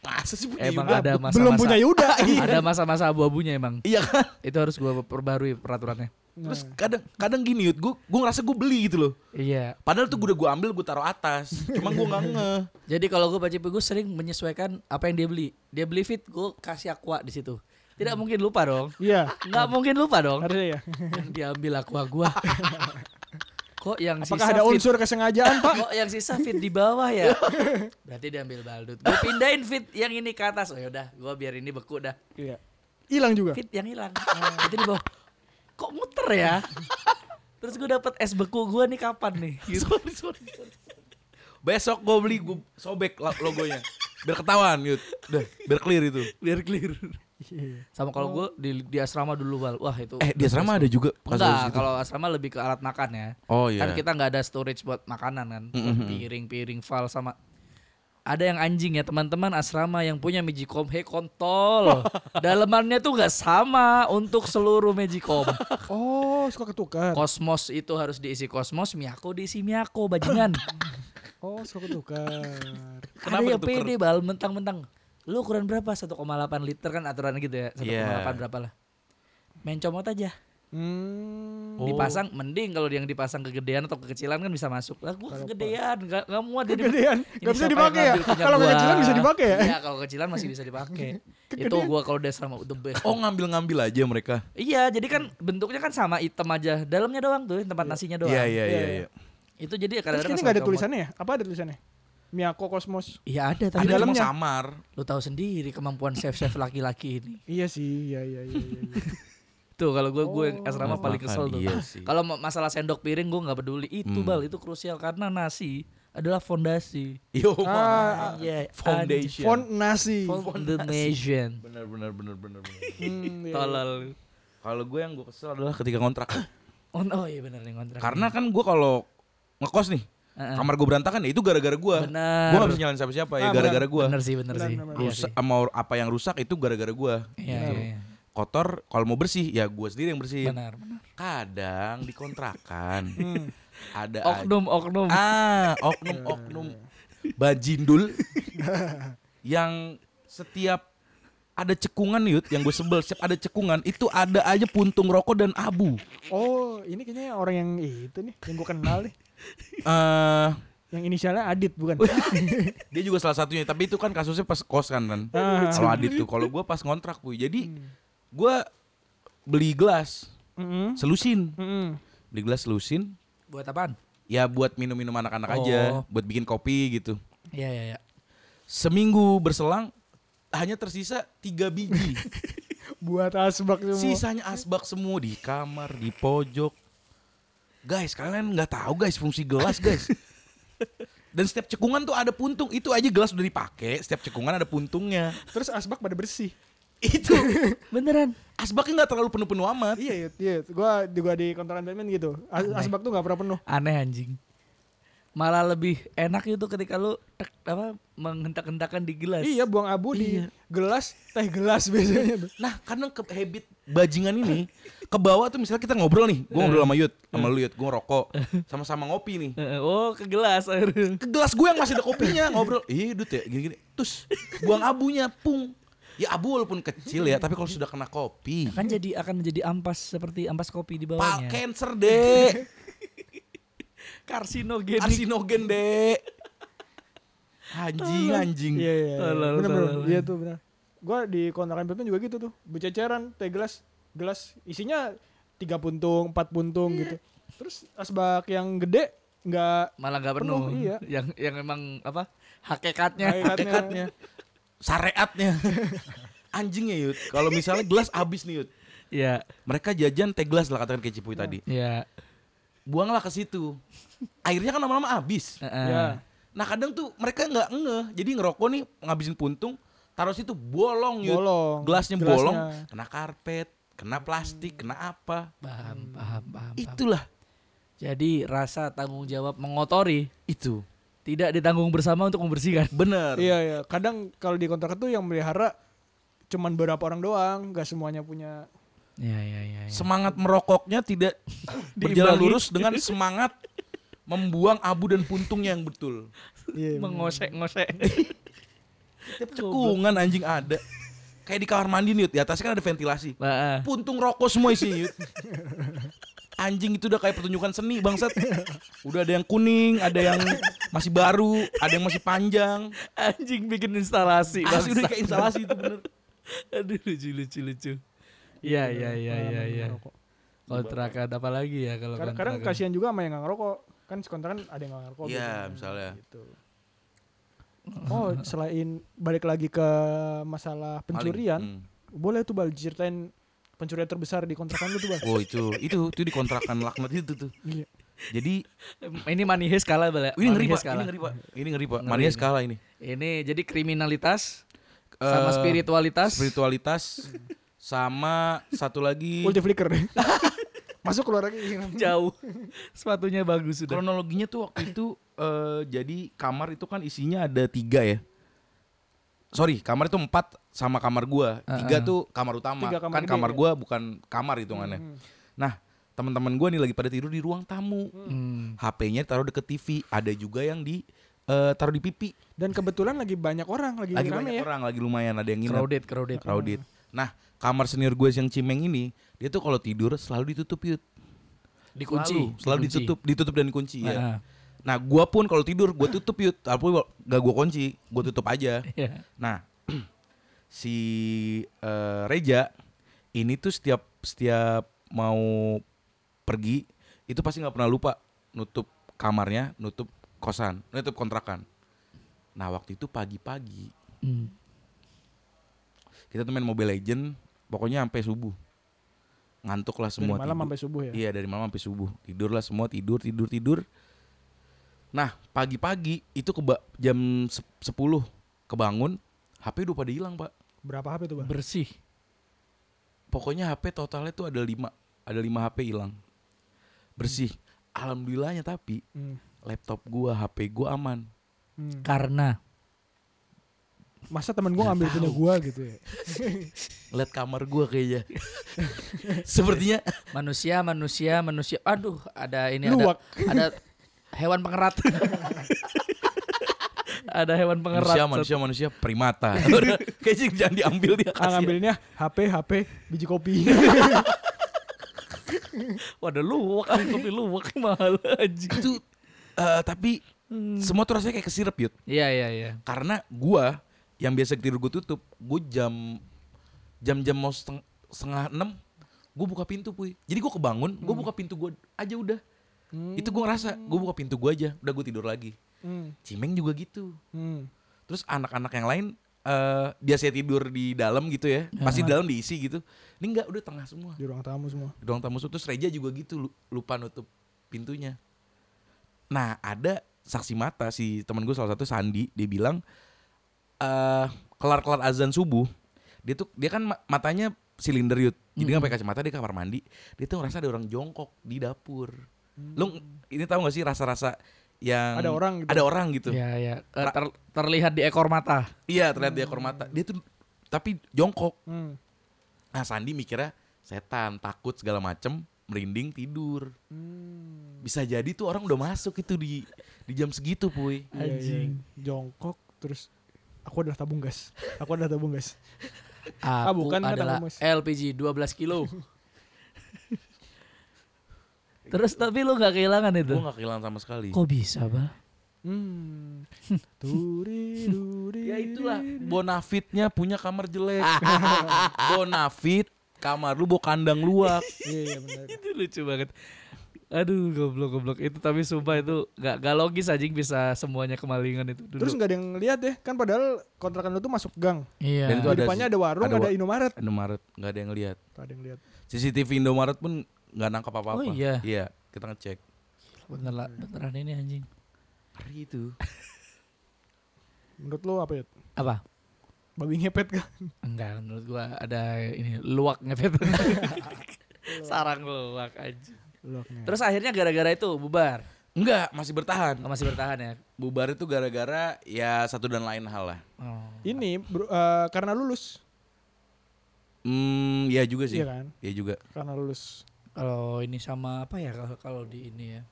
Speaker 1: Masa sih punya
Speaker 3: Emang
Speaker 1: Yuda?
Speaker 3: ada masa-masa.
Speaker 2: Belum punya Yuda.
Speaker 3: Ada masa-masa abu-abunya emang.
Speaker 1: Iya kan?
Speaker 3: Itu harus gua perbarui peraturannya.
Speaker 1: Terus
Speaker 3: Nah.
Speaker 1: kadang kadang gini Yud, gue gue ngerasa gue beli gitu loh.
Speaker 3: Iya.
Speaker 1: Padahal tuh gue udah gue ambil gue taruh atas. Cuma gue nggak nge.
Speaker 3: Jadi kalau gue baca gue sering menyesuaikan apa yang dia beli. Dia beli fit, gue kasih aqua di situ. Tidak mungkin lupa dong.
Speaker 2: Iya.
Speaker 3: Nggak mungkin lupa dong.
Speaker 2: Harusnya ya.
Speaker 3: Dan diambil aqua gua. Kok yang
Speaker 2: Apakah
Speaker 3: sisa
Speaker 2: ada
Speaker 3: fit?
Speaker 2: unsur
Speaker 3: kan,
Speaker 2: kesengajaan, Pak?
Speaker 3: Kok yang sisa fit di bawah ya? Berarti diambil baldut. Gue pindahin fit yang ini ke atas. Oh yaudah, gue biar ini beku dah.
Speaker 2: Iya. Hilang juga.
Speaker 3: Fit yang hilang. Berarti di bawah. Kok muter ya? Terus gue dapet es beku gue nih kapan nih? Gitu. sorry, sorry, sorry.
Speaker 1: Besok gue beli gue sobek lo- logonya. Biar ketahuan Yud. Udah, biar clear itu.
Speaker 3: Biar clear.
Speaker 2: Iya.
Speaker 3: Sama kalau gue di, di asrama dulu Wal. Wah itu.
Speaker 1: Eh di asrama ada juga kasus
Speaker 3: Enggak,
Speaker 1: gitu.
Speaker 3: kalau asrama lebih ke alat makan ya.
Speaker 1: Oh iya. Mm-hmm,
Speaker 3: Kan kita nggak ada storage buat makanan kan. Buat Piring-piring file sama ada yang anjing ya teman-teman asrama yang punya Magicom he kontol. Dalemannya tuh nggak sama untuk seluruh Magicom.
Speaker 2: Oh, suka ketukar.
Speaker 3: Kosmos itu harus diisi kosmos, Miyako diisi Miyako bajingan.
Speaker 2: Oh, suka ketukar.
Speaker 1: Kenapa
Speaker 3: ada yang
Speaker 1: ketuker?
Speaker 3: pede bal mentang-mentang. Lu ukuran berapa? 1,8 liter kan aturan gitu ya. 1,8
Speaker 1: Iya.
Speaker 3: berapa lah. Main comot aja.
Speaker 2: Hmm.
Speaker 1: Oh.
Speaker 3: Dipasang mending kalau yang dipasang kegedean atau kekecilan kan bisa masuk. Lah gua kegedean, nggak nggak muat jadi
Speaker 2: Gedean,
Speaker 3: Ini
Speaker 2: nggak
Speaker 3: siapa
Speaker 2: bisa
Speaker 3: yang
Speaker 2: dipakai ya?
Speaker 3: ngambil punya
Speaker 2: Kalau
Speaker 3: gua?
Speaker 2: kekecilan bisa dipakai ya?
Speaker 3: Iya, kalau kekecilan masih bisa dipakai. Itu gua kalau udah sama the best.
Speaker 1: Oh ngambil-ngambil aja mereka.
Speaker 3: Iya, jadi kan bentuknya kan sama item aja. Dalamnya doang tuh, tempat nasinya doang.
Speaker 1: Iya iya
Speaker 2: Iya,
Speaker 1: iya.
Speaker 2: iya.
Speaker 1: iya.
Speaker 3: Itu jadi
Speaker 2: Terus
Speaker 3: kadang-kadang sama
Speaker 2: ini nggak ada
Speaker 3: comot.
Speaker 2: tulisannya ya? Apa ada tulisannya? Miyako Kosmos.
Speaker 3: Iya ada, tapi
Speaker 1: Ada cuma
Speaker 2: dalamnya.
Speaker 1: samar.
Speaker 3: lu tahu sendiri kemampuan chef-chef laki-laki ini.
Speaker 2: Iya sih, iya iya iya. iya, iya.
Speaker 3: Tuh kalau gue gue yang asrama
Speaker 1: Buat
Speaker 3: paling
Speaker 1: makan,
Speaker 3: kesel tuh.
Speaker 1: iya sih. Hmm.
Speaker 3: Kalau ma- masalah sendok piring gue nggak peduli. Itu bal itu krusial karena nasi adalah fondasi.
Speaker 1: Yo,
Speaker 2: Ah,
Speaker 3: Iya,
Speaker 1: foundation.
Speaker 2: Font nasi.
Speaker 3: anjing. Fondation.
Speaker 1: Bener bener bener bener. bener.
Speaker 2: Hmm, iya, iya.
Speaker 3: Tolol.
Speaker 1: kalau gue yang gue kesel adalah ketika kontrak.
Speaker 3: Oh, oh iya benar nih kontrak.
Speaker 1: Karena kan gue kalau ngekos nih,
Speaker 3: Heeh.
Speaker 1: kamar gue berantakan ya itu gara-gara gue.
Speaker 3: Ah. Bener.
Speaker 1: Gue gak bisa nyalain siapa-siapa ya
Speaker 2: Ah,
Speaker 1: gara-gara gue.
Speaker 3: Bener sih, bener,
Speaker 2: Benar,
Speaker 3: sih.
Speaker 2: benar, benar.
Speaker 3: Iya
Speaker 1: Rusak
Speaker 3: sih.
Speaker 1: sama or- apa yang rusak itu gara-gara gue.
Speaker 3: Iya, iya, iya.
Speaker 1: Kotor kalau mau bersih ya gue sendiri yang bersih.
Speaker 3: Benar, benar.
Speaker 1: Kadang dikontrakan
Speaker 3: Hmm.
Speaker 1: ada aja-
Speaker 3: Oknum, oknum.
Speaker 1: Iya. Ah, oknum-oknum bajindul yang setiap ada cekungan yut yang gue sebel setiap ada cekungan itu ada aja puntung rokok dan abu
Speaker 2: Oh, ini kayaknya orang yang itu nih, yang gue kenal nih.
Speaker 1: eh
Speaker 2: Yang inisialnya Adit bukan?
Speaker 1: dia juga salah satunya tapi itu kan kasusnya pas kos kan kan
Speaker 2: Ah.
Speaker 1: kalau adit tuh kalau gue pas ngontrak puy jadi gue beli gelas
Speaker 2: Mm-mm.
Speaker 1: selusin
Speaker 2: Mm-mm.
Speaker 1: beli gelas selusin
Speaker 3: Buat apaan?
Speaker 1: ya buat minum-minum anak-anak aja
Speaker 3: Oh.
Speaker 1: buat bikin kopi gitu
Speaker 3: Iya, iya, iya.
Speaker 1: seminggu berselang hanya tersisa tiga biji
Speaker 2: Buat asbak semua.
Speaker 1: Sisanya asbak semua di kamar, di pojok. Guys, kalian nggak tahu guys fungsi gelas guys. Dan setiap cekungan tuh ada puntung. Itu aja gelas udah dipakai. Setiap cekungan ada puntungnya.
Speaker 2: Terus asbak pada bersih.
Speaker 1: Itu
Speaker 3: Beneran.
Speaker 1: asbaknya nggak terlalu penuh-penuh amat.
Speaker 2: Iya, iya, iya. Gua juga di kontoran Batman gitu. As- asbak tuh nggak pernah penuh.
Speaker 3: Aneh anjing. Malah lebih enak itu ketika lu tek, apa menghentak-hentakan di gelas.
Speaker 2: Iya, buang abu di gelas, teh gelas biasanya tuh.
Speaker 1: Nah, kadang ke habit bajingan ini ke bawah tuh misalnya kita ngobrol nih. Gue ngobrol sama Yud, sama lu Yud, gue ngerokok. Sama-sama ngopi nih.
Speaker 3: Heeh, Oh, ke gelas akhirnya.
Speaker 1: Ke gelas gue yang masih ada kopinya ngobrol. Ih, Dut ya gini-gini. Terus buang abunya, pung. Ya abu walaupun kecil ya, tapi kalau sudah kena kopi.
Speaker 3: Kan jadi akan jadi ampas seperti ampas kopi di
Speaker 1: Pak
Speaker 3: bawahnya.
Speaker 1: cancer deh.
Speaker 3: karsinogenik.
Speaker 1: Arsinogen dek. Anjing anjing.
Speaker 2: Iya, iya. iya.
Speaker 3: Tolol,
Speaker 2: Bener, bener.
Speaker 3: tolol.
Speaker 2: Iya tuh bener. Gua di kontrakan Batman juga gitu tuh. Bececeran teh gelas, gelas isinya tiga puntung, empat puntung gitu. Terus asbak yang gede nggak
Speaker 3: Malah nggak penuh.
Speaker 2: Penuh, iya.
Speaker 3: Yang yang emang apa? Hakikatnya.
Speaker 1: Hakikatnya. Sareatnya. Anjing ya Yud. Kalau misalnya gelas habis nih Yud.
Speaker 3: Iya.
Speaker 1: Mereka jajan teh gelas lah katakan kayak Cipuy tadi.
Speaker 3: Iya.
Speaker 1: Buanglah ke situ. Airnya kan lama-lama habis.
Speaker 3: Heeh.
Speaker 2: Ya.
Speaker 1: Nah kadang tuh mereka nggak ngeh. Jadi ngerokok nih ngabisin puntung. Taruh situ bolong Yud.
Speaker 2: Bolong.
Speaker 1: Gelasnya,
Speaker 2: Gelasnya.
Speaker 1: bolong. Kena karpet. Kena plastik. Kena apa.
Speaker 3: Paham, paham, paham. paham.
Speaker 1: Itulah
Speaker 3: Jadi rasa tanggung jawab mengotori
Speaker 1: Itu.
Speaker 3: tidak ditanggung bersama untuk membersihkan.
Speaker 1: Bener.
Speaker 2: Iya iya. Kadang kalau di kontrak itu yang melihara cuman beberapa orang doang, nggak semuanya punya.
Speaker 3: Iya iya iya. iya.
Speaker 1: Semangat merokoknya tidak berjalan lurus dengan semangat membuang abu dan puntungnya yang betul.
Speaker 2: Iya.
Speaker 3: Mengosek-ngosek.
Speaker 1: Tiap cekungan anjing ada. Kayak di kamar mandi nih, Yud. di atas kan ada ventilasi.
Speaker 3: Nah, ah.
Speaker 1: Puntung rokok semua isinya. Yud. Anjing itu udah kayak pertunjukan seni bangsat. Udah ada yang kuning, ada yang masih baru, ada yang masih panjang.
Speaker 3: anjing bikin instalasi.
Speaker 1: Asli udah
Speaker 3: bangsat.
Speaker 1: Ah, kayak instalasi itu bener.
Speaker 3: Aduh lucu lucu lucu. Iya iya iya iya iya. Kontrakan apa lagi ya kalau
Speaker 2: Kadang, kadang
Speaker 3: kontrakan?
Speaker 2: kasihan juga sama yang nggak ngerokok. Kan sekontrakan ada yang nggak ngerokok.
Speaker 1: Iya,
Speaker 2: biasanya,
Speaker 1: misalnya.
Speaker 2: Gitu. Oh, selain balik lagi ke masalah pencurian,
Speaker 1: Maling. Hmm.
Speaker 2: boleh tuh bal ceritain pencurian terbesar di kontrakan lu tuh bal?
Speaker 1: Oh itu, itu, itu dikontrakan laknat itu tuh.
Speaker 2: Iya.
Speaker 1: Jadi
Speaker 3: Eh, Ini manihes kalah bala.
Speaker 1: ini ngeri pak, ini
Speaker 3: Manihes kalah.
Speaker 1: ngeri pak, ini ngeri pak.
Speaker 3: Ngeri
Speaker 1: Manias
Speaker 3: ini.
Speaker 1: kalah ini.
Speaker 3: Ini jadi kriminalitas sama
Speaker 1: Eh,
Speaker 3: spiritualitas.
Speaker 1: spiritualitas, sama satu lagi
Speaker 2: Multi flicker Masuk keluar lagi.
Speaker 3: Jauh. Sepatunya bagus sudah.
Speaker 1: kronologinya tuh waktu itu eh, jadi kamar itu kan isinya ada tiga ya. Sorry, kamar itu empat sama kamar gua. Tiga
Speaker 3: Ah, ah.
Speaker 1: tuh kamar utama.
Speaker 2: Tiga kamar
Speaker 1: kan
Speaker 2: gede,
Speaker 1: kamar
Speaker 2: iya.
Speaker 1: gua bukan kamar hitungannya.
Speaker 2: Hmm.
Speaker 1: Nah, teman-teman gua nih lagi pada tidur di ruang tamu.
Speaker 3: Hmm.
Speaker 1: HP-nya taruh deket TV, ada juga yang di eh, taruh di pipi.
Speaker 2: Dan kebetulan lagi banyak orang lagi,
Speaker 1: Lagi
Speaker 2: rame
Speaker 1: banyak
Speaker 2: ya.
Speaker 1: orang, lagi lumayan ada yang nginep.
Speaker 3: Crowded, crowded.
Speaker 1: crowded. Nah, kamar senior gue yang Cimeng ini, dia tuh kalau tidur selalu ditutup yut.
Speaker 3: Dikunci,
Speaker 1: Selalu, selalu
Speaker 3: dikunci.
Speaker 1: ditutup, ditutup dan kunci ya.
Speaker 3: Ah, ah.
Speaker 1: Nah, gua pun kalau tidur gue tutup yut, tapi gak gue kunci, gue tutup aja.
Speaker 3: Iya.
Speaker 1: Nah, si eh, Reja ini tuh setiap setiap mau pergi itu pasti nggak pernah lupa nutup kamarnya, nutup kosan, nutup kontrakan. Nah, waktu itu pagi-pagi
Speaker 3: Hmm.
Speaker 1: kita tuh main Mobile Legend pokoknya sampai subuh ngantuk lah
Speaker 2: Dari
Speaker 1: semua
Speaker 2: malam
Speaker 1: tidur.
Speaker 2: sampai subuh ya.
Speaker 1: iya dari malam sampai subuh tidur lah semua tidur tidur tidur nah pagi-pagi itu keba- jam sep- 10 kebangun HP udah pada hilang pak
Speaker 2: Berapa HP tuh bal?
Speaker 3: Bersih.
Speaker 1: pokoknya HP totalnya tuh ada 5 ada 5 HP hilang bersih alhamdulillahnya tapi
Speaker 2: Hmm.
Speaker 1: laptop gua HP gua aman
Speaker 2: Hmm.
Speaker 3: Karena
Speaker 2: Masa temen gua ngambil punya gua gitu ya.
Speaker 1: lihat kamar gua kayaknya sepertinya
Speaker 3: manusia, manusia, manusia. Aduh, ada ini
Speaker 2: Luwak.
Speaker 3: ada ada hewan pengerat. ada hewan pengerat.
Speaker 1: manusia manusia manusia primata kayaknya jangan diambil dia
Speaker 2: Ah,
Speaker 1: kasihan.
Speaker 2: ngambilnya HP HP biji kopi.
Speaker 3: Wah, ada luwak, kopi luwak mahal aja.
Speaker 1: itu eh, tapi semua tuh rasanya kayak kesirep yut
Speaker 3: Iya, iya, iya.
Speaker 1: karena gua yang biasa tidur gua tutup gua jam jam jam mau seteng- setengah enam gua buka pintu puy jadi gua kebangun gua buka pintu gua aja udah
Speaker 2: Hmm.
Speaker 1: itu gua ngerasa gua buka pintu gua aja udah gua tidur lagi
Speaker 2: Hmm.
Speaker 1: cimeng juga gitu
Speaker 2: Hmm.
Speaker 1: terus anak-anak yang lain eh biasanya tidur di dalam gitu ya pasti di dalam diisi gitu ini enggak udah tengah semua
Speaker 2: Di ruang tamu semua.
Speaker 1: di ruang tamu terus Reja juga gitu lu- lupa nutup pintunya nah ada saksi mata si temen gue salah satu Sandi dia bilang eh kelar kelar azan subuh dia tuh dia kan ma- matanya silinder yut jadi
Speaker 2: Hmm.
Speaker 1: nggak pakai kacamata di kamar mandi dia tuh ngerasa ada orang jongkok di dapur lu ini tahu gak sih rasa rasa yang
Speaker 2: Hmm. Ada orang gitu.
Speaker 1: ada orang gitu
Speaker 3: Iya, iya. Eh, ter- terlihat di ekor mata.
Speaker 1: iya terlihat di ekor mata dia tuh tapi jongkok
Speaker 2: Hmm.
Speaker 1: nah Sandi mikirnya setan takut segala macem merinding tidur
Speaker 2: Hmm.
Speaker 1: bisa jadi tuh orang udah masuk itu di di jam segitu puy
Speaker 2: Iya, iya.
Speaker 3: Anjing.
Speaker 2: Jongkok terus aku adalah tabung gas. Aku adalah tabung gas.
Speaker 3: Aku
Speaker 2: Ah, bukan, kata
Speaker 3: adalah
Speaker 2: Mas.
Speaker 3: LPG 12 kilo. Terus tapi lu gak kehilangan itu.
Speaker 1: gue gak kehilangan sama sekali
Speaker 3: Kok bisa, Bal?
Speaker 2: Hmm. Turi duri.
Speaker 1: ya itulah
Speaker 2: Iya.
Speaker 1: Bonafitnya punya kamar jelek Bonafit kamar lu bawa kandang luak
Speaker 2: Iya iya benar.
Speaker 3: Itu lucu banget. Aduh, goblok goblok itu tapi sumpah itu gak, gak logis anjing bisa semuanya kemalingan itu dulu.
Speaker 2: Terus nggak ada yang lihat ya, kan padahal kontrakan lu tuh masuk gang.
Speaker 3: iya.
Speaker 1: Dan itu
Speaker 2: Di
Speaker 1: ada
Speaker 2: depannya
Speaker 1: sih-
Speaker 2: ada warung,
Speaker 1: ada
Speaker 2: ada,
Speaker 1: wa-
Speaker 2: Indomaret.
Speaker 1: Indomaret nggak ada yang lihat
Speaker 2: Tuh ada yang lihat.
Speaker 1: CCTV Indomaret pun nggak nangkap apa-apa
Speaker 3: Oh, iya.
Speaker 1: kita ngecek
Speaker 3: Bener lah, beneran ini anjing.
Speaker 1: hari itu
Speaker 2: Menurut lu apa ya?
Speaker 3: Apa?
Speaker 2: Babi ngepet kan?
Speaker 3: Enggak, menurut gua ada ini luak ngepet. Sarang luak anjing.
Speaker 2: Locknya.
Speaker 3: Terus akhirnya gara-gara itu bubar.
Speaker 1: Enggak, masih bertahan.
Speaker 3: Oh, masih bertahan ya.
Speaker 1: Bubar itu gara-gara ya satu dan lain hal lah.
Speaker 3: Oh.
Speaker 2: Ini bro, eh, karena lulus,
Speaker 1: Hmm, ya juga sih.
Speaker 2: Iya kan?
Speaker 1: Ya juga.
Speaker 2: karena lulus.
Speaker 3: Kalau ini sama apa ya kalau kalau di ini ya.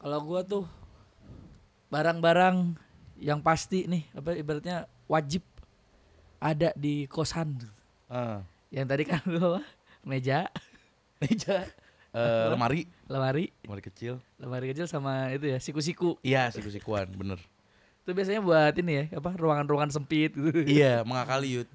Speaker 3: Kalau gua tuh barang-barang yang pasti nih apa ibaratnya wajib ada di kosan.
Speaker 1: Heeh.
Speaker 3: Yang tadi kan lu apa? meja, meja,
Speaker 1: Eh, lemari,
Speaker 3: lemari,
Speaker 1: lemari kecil.
Speaker 3: lemari kecil sama itu ya siku-siku.
Speaker 1: Iya, siku-sikuan, bener.
Speaker 3: Itu biasanya buat ini ya, apa ruangan-ruangan sempit gitu.
Speaker 1: iya, mengakali Yud.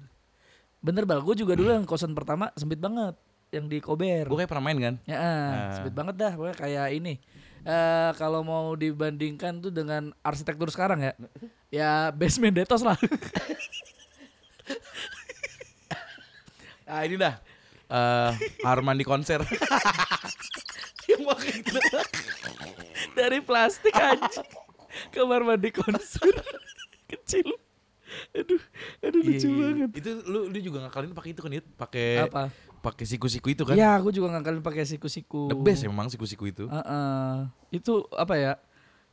Speaker 3: Bener bal, gue juga dulu yang kosan pertama sempit banget yang di Kober.
Speaker 1: Gue kayak pernah main kan?
Speaker 3: Ya,
Speaker 1: Ah.
Speaker 3: sempit banget dah, pokoknya kayak ini. Eh kalau mau dibandingkan tuh dengan arsitektur sekarang ya, ya basement detos lah.
Speaker 1: Ah, ini dah. Eh, Arman di konser. Yang waktu itu.
Speaker 3: Dari plastik aja. Kamar mandi konsur kecil. Aduh, aduh lucu banget.
Speaker 1: Iya. Itu lu dia juga ngakalin pakai itu kan Yud? Pakai
Speaker 3: Apa?
Speaker 1: pakai siku-siku itu kan?
Speaker 3: Ya, aku juga ngakalin pakai siku-siku.
Speaker 1: The best ya, emang siku-siku itu.
Speaker 3: Ah, Heeh. Itu apa ya?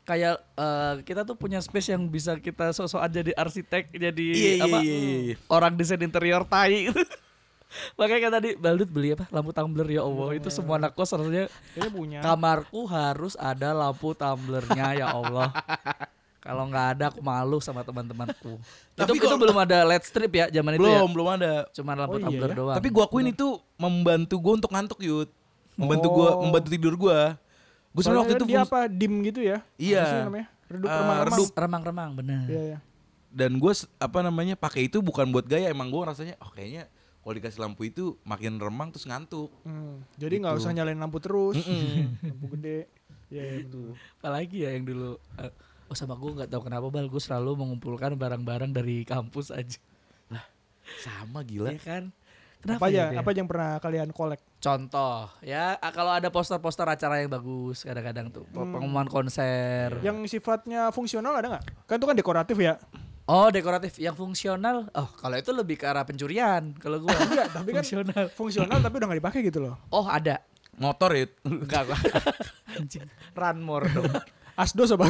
Speaker 3: Kayak eh, kita tuh punya space yang bisa kita sosok aja jadi arsitek, jadi
Speaker 1: Iya, iya,
Speaker 3: apa?
Speaker 1: iya, iya, iya.
Speaker 3: Orang desain interior tai. Makanya kan tadi Baldut beli apa? Lampu tumbler
Speaker 1: Iya.
Speaker 3: ya Allah. Itu semua anak kos harusnya
Speaker 2: Ini punya.
Speaker 3: kamarku harus ada lampu tumblernya ya Allah. Kalau nggak ada aku malu sama teman-temanku. itu
Speaker 1: Tapi
Speaker 3: itu
Speaker 1: kalau-
Speaker 3: belum ada LED strip ya zaman itu ya.
Speaker 1: belum, belum ada.
Speaker 3: Cuman lampu
Speaker 2: Oh, iya
Speaker 3: tumbler
Speaker 2: ya.
Speaker 3: doang.
Speaker 1: Tapi gua akuin itu membantu gua untuk ngantuk Yud. Membantu gua,
Speaker 2: Oh.
Speaker 1: membantu tidur gua. Gua
Speaker 2: Soalnya
Speaker 1: sebenarnya waktu
Speaker 2: kan
Speaker 1: itu
Speaker 2: dia
Speaker 1: fungsi-
Speaker 2: apa dim gitu ya?
Speaker 1: Iya.
Speaker 2: Apa sih namanya? Redup
Speaker 1: Eh,
Speaker 2: remang-remang.
Speaker 1: redup.
Speaker 3: remang-remang bener.
Speaker 2: Iya, iya.
Speaker 1: dan gue apa namanya pakai itu bukan buat gaya emang gue rasanya oh kayaknya kalau dikasih lampu itu makin remang terus ngantuk
Speaker 2: Hmm, Jadi nggak
Speaker 3: Gitu.
Speaker 2: usah nyalain lampu terus. lampu gede. Iya, iya, betul.
Speaker 3: Apalagi ya yang dulu eh, Oh sama gue nggak tahu kenapa Bal Gue selalu mengumpulkan barang-barang dari kampus aja
Speaker 1: sama gila
Speaker 3: Iya kan
Speaker 2: Apa
Speaker 3: Kenapa
Speaker 2: aja,
Speaker 3: ya, dia?
Speaker 2: apa aja yang pernah kalian kolek?
Speaker 3: Contoh ya ah, Kalau ada poster-poster acara yang bagus Kadang-kadang tuh
Speaker 2: Hmm.
Speaker 3: pe- Pengumuman konser
Speaker 2: Yang sifatnya fungsional ada nggak? Kan itu kan dekoratif ya.
Speaker 3: Oh dekoratif Yang fungsional Oh kalau itu lebih ke arah pencurian Kalau gue Enggak
Speaker 2: tapi kan-
Speaker 3: Fungsional
Speaker 2: Fungsional tapi udah nggak dipakai gitu loh.
Speaker 3: Oh ada
Speaker 1: motor ya
Speaker 3: Enggak gua- Anjing Run more dong
Speaker 2: Asdos apa?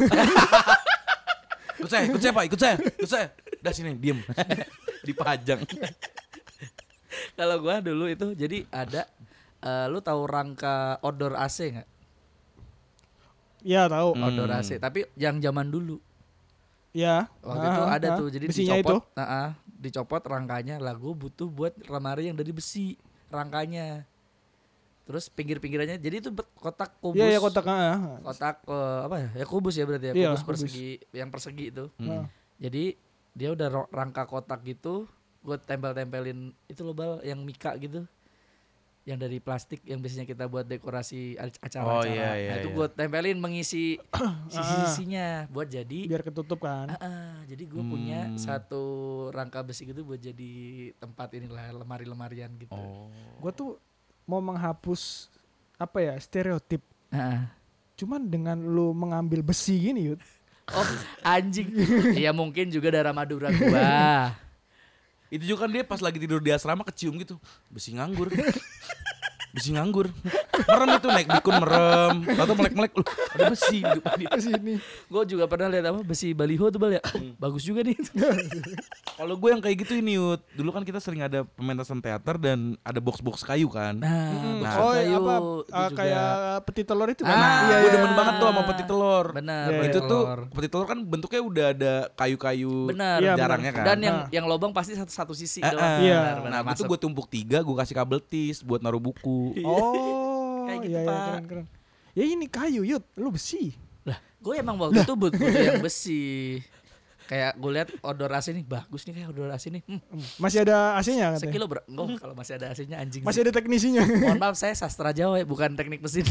Speaker 1: ikut saya ikut saya pak ikut saya ikut saya dah sini diem dipajang
Speaker 3: Kalau gue dulu itu Jadi ada eh, Lu tahu rangka outdoor AC nggak?
Speaker 2: Iya tahu.
Speaker 3: Outdoor AC Tapi yang zaman dulu
Speaker 2: Iya.
Speaker 3: Waktu itu
Speaker 2: Ah,
Speaker 3: ada
Speaker 2: ah.
Speaker 3: tuh, jadi
Speaker 2: Besinya itu.
Speaker 3: dicopot, ah, ah, dicopot rangkanya. Lah gue butuh buat lemari yang dari besi rangkanya. Terus pinggir-pinggirannya, jadi itu bet- kotak kubus.
Speaker 2: Iya, iya kotak ah, ah.
Speaker 3: Kotak, eh, apa ya? Ya kubus ya berarti ya,
Speaker 2: Iya,
Speaker 3: kubus
Speaker 2: kubus.
Speaker 3: persegi, yang persegi itu.
Speaker 2: Nah,
Speaker 3: Jadi dia udah ro- rangka kotak gitu, gue tempel-tempelin itu loh bal yang mika gitu. Yang dari plastik yang biasanya kita buat dekorasi ac-
Speaker 1: Oh,
Speaker 3: acara-acara.
Speaker 1: iya, iya,
Speaker 3: nah, itu
Speaker 1: iya.
Speaker 3: gue tempelin mengisi
Speaker 2: Ah.
Speaker 3: sisi-sisinya buat jadi
Speaker 2: biar ketutup kan.
Speaker 3: Ah, ah, jadi gue punya
Speaker 1: Hmm.
Speaker 3: satu rangka besi gitu buat jadi tempat inilah lemari-lemarian gitu.
Speaker 1: oh
Speaker 2: Gue tuh mau menghapus apa ya stereotip.
Speaker 3: Ah, ah.
Speaker 2: Cuman dengan lu mengambil besi gini, Yud.
Speaker 3: Oh, anjing. Iya mungkin juga darah Madura gua.
Speaker 1: itu juga kan dia pas lagi tidur di asrama kecium gitu besi nganggur besi nganggur merem itu naik dukun merem atau melek melek lu ada besi di depan dia.
Speaker 2: Besi ini.
Speaker 3: Gue juga pernah lihat apa besi baliho tuh bal ya. Oh,
Speaker 1: Hmm.
Speaker 3: bagus juga nih. Nah,
Speaker 1: kalau gue yang kayak gitu ini Yud dulu kan kita sering ada pementasan teater dan ada box box kayu kan Nah.
Speaker 3: Nah, box
Speaker 2: oh,
Speaker 3: kayu
Speaker 2: apa
Speaker 3: itu
Speaker 2: ah,
Speaker 3: juga.
Speaker 2: kayak peti telur itu kan.
Speaker 3: Ah,
Speaker 1: Nah,
Speaker 2: iya,
Speaker 1: gue
Speaker 2: iya.
Speaker 1: demen banget tuh sama peti telur. Nah,
Speaker 3: Benar,
Speaker 2: Iya,
Speaker 1: Ya, itu
Speaker 3: peti
Speaker 1: tuh
Speaker 3: telur.
Speaker 1: peti telur kan bentuknya udah ada kayu-kayu
Speaker 3: Benar.
Speaker 1: jarangnya
Speaker 2: Iya,
Speaker 1: kan.
Speaker 2: benar.
Speaker 3: Dan yang
Speaker 2: Ah.
Speaker 3: yang lobang pasti satu satu sisi
Speaker 1: Ah, ah.
Speaker 3: doang.
Speaker 2: Iya.
Speaker 3: Benar, benar,
Speaker 1: Nah, itu
Speaker 3: masuk.
Speaker 1: gue tumpuk tiga, gue kasih kabel tis buat naruh buku.
Speaker 2: Oh,
Speaker 3: iya. Kayak gitu,
Speaker 2: iya, iya,
Speaker 3: Pak.
Speaker 2: keren, keren. Ya ini kayu, Yud. Lu besi.
Speaker 3: Gue emang waktu itu butuh yang besi. Kayak gue lihat odor AC nih bagus nih kayak odor AC nih. Hmm,
Speaker 2: Masih ada AC-nya katanya.
Speaker 3: sekilo bro. Enggak, kalau masih ada AC-nya anjing.
Speaker 2: Masih ada teknisinya.
Speaker 3: Mohon maaf saya sastra Jawa ya, bukan teknik mesin.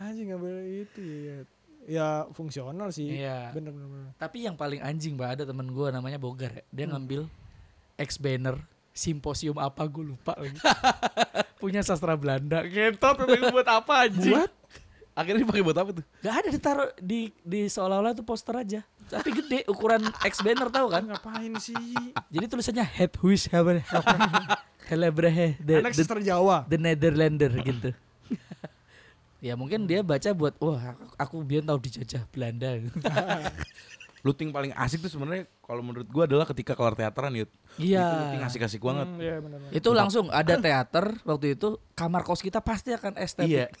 Speaker 2: Anjing nggak boleh itu ya. Ya fungsional sih.
Speaker 3: Iya.
Speaker 2: Bener bener. bener.
Speaker 3: Tapi yang paling anjing mbak ada temen gue namanya Bogar ya.
Speaker 2: Hmm.
Speaker 3: Dia ngambil ex banner simposium apa gue lupa lagi. Punya sastra Belanda. kan? Ngentot memang buat apa anjing?
Speaker 2: Buat
Speaker 1: Akhirnya dipakai buat apa tuh?
Speaker 3: Gak ada ditaruh di di seolah-olah tuh poster aja. Tapi gede ukuran ex banner tahu kan?
Speaker 2: ngapain sih?
Speaker 3: Jadi tulisannya Head Wish Heaven Helebrehe the,
Speaker 2: Anak
Speaker 3: the,
Speaker 2: sister Jawa.
Speaker 3: the Netherlander gitu. Ya mungkin dia baca buat wah aku, aku biar tahu dijajah Belanda.
Speaker 1: Luting paling asik tuh sebenarnya kalau menurut gua adalah ketika kelar teateran yut.
Speaker 3: Iya.
Speaker 1: Itu luting asik-asik banget.
Speaker 2: Hmm, iya benar. benar.
Speaker 3: Itu langsung ada teater waktu itu kamar kos kita pasti akan
Speaker 1: Iya.
Speaker 3: estetik.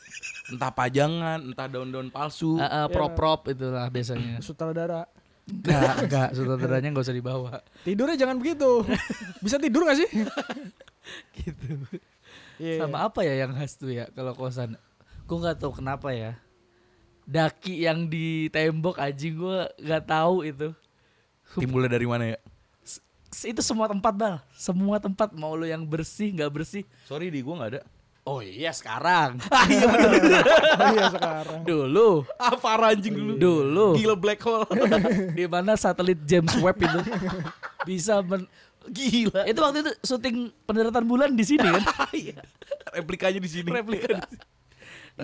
Speaker 1: Entah pajangan, entah daun-daun palsu.
Speaker 3: Eh, eh, prop-prop itulah biasanya.
Speaker 2: Sutradara.
Speaker 3: Enggak, enggak, sutradaranya enggak usah dibawa.
Speaker 2: Tidurnya jangan begitu. Bisa tidur gak sih?
Speaker 3: Gitu.
Speaker 2: Iya.
Speaker 3: Sama apa ya yang khas tuh ya kalau kosan? Gue nggak tahu kenapa ya. Daki yang di tembok anjing gue nggak tahu itu.
Speaker 1: Timbulnya dari mana ya?
Speaker 3: S- Itu semua tempat bal, semua tempat mau lo yang bersih nggak bersih.
Speaker 1: Sorry di gua nggak ada.
Speaker 3: Oh iya sekarang.
Speaker 2: iya sekarang.
Speaker 3: dulu,
Speaker 1: Apa Ah, anjing dulu?
Speaker 3: dulu.
Speaker 1: Gila black hole.
Speaker 3: di mana satelit James Webb itu bisa men gila. Itu waktu itu syuting pendaratan bulan di sini kan.
Speaker 1: Replikanya di sini.
Speaker 3: replika. Nah,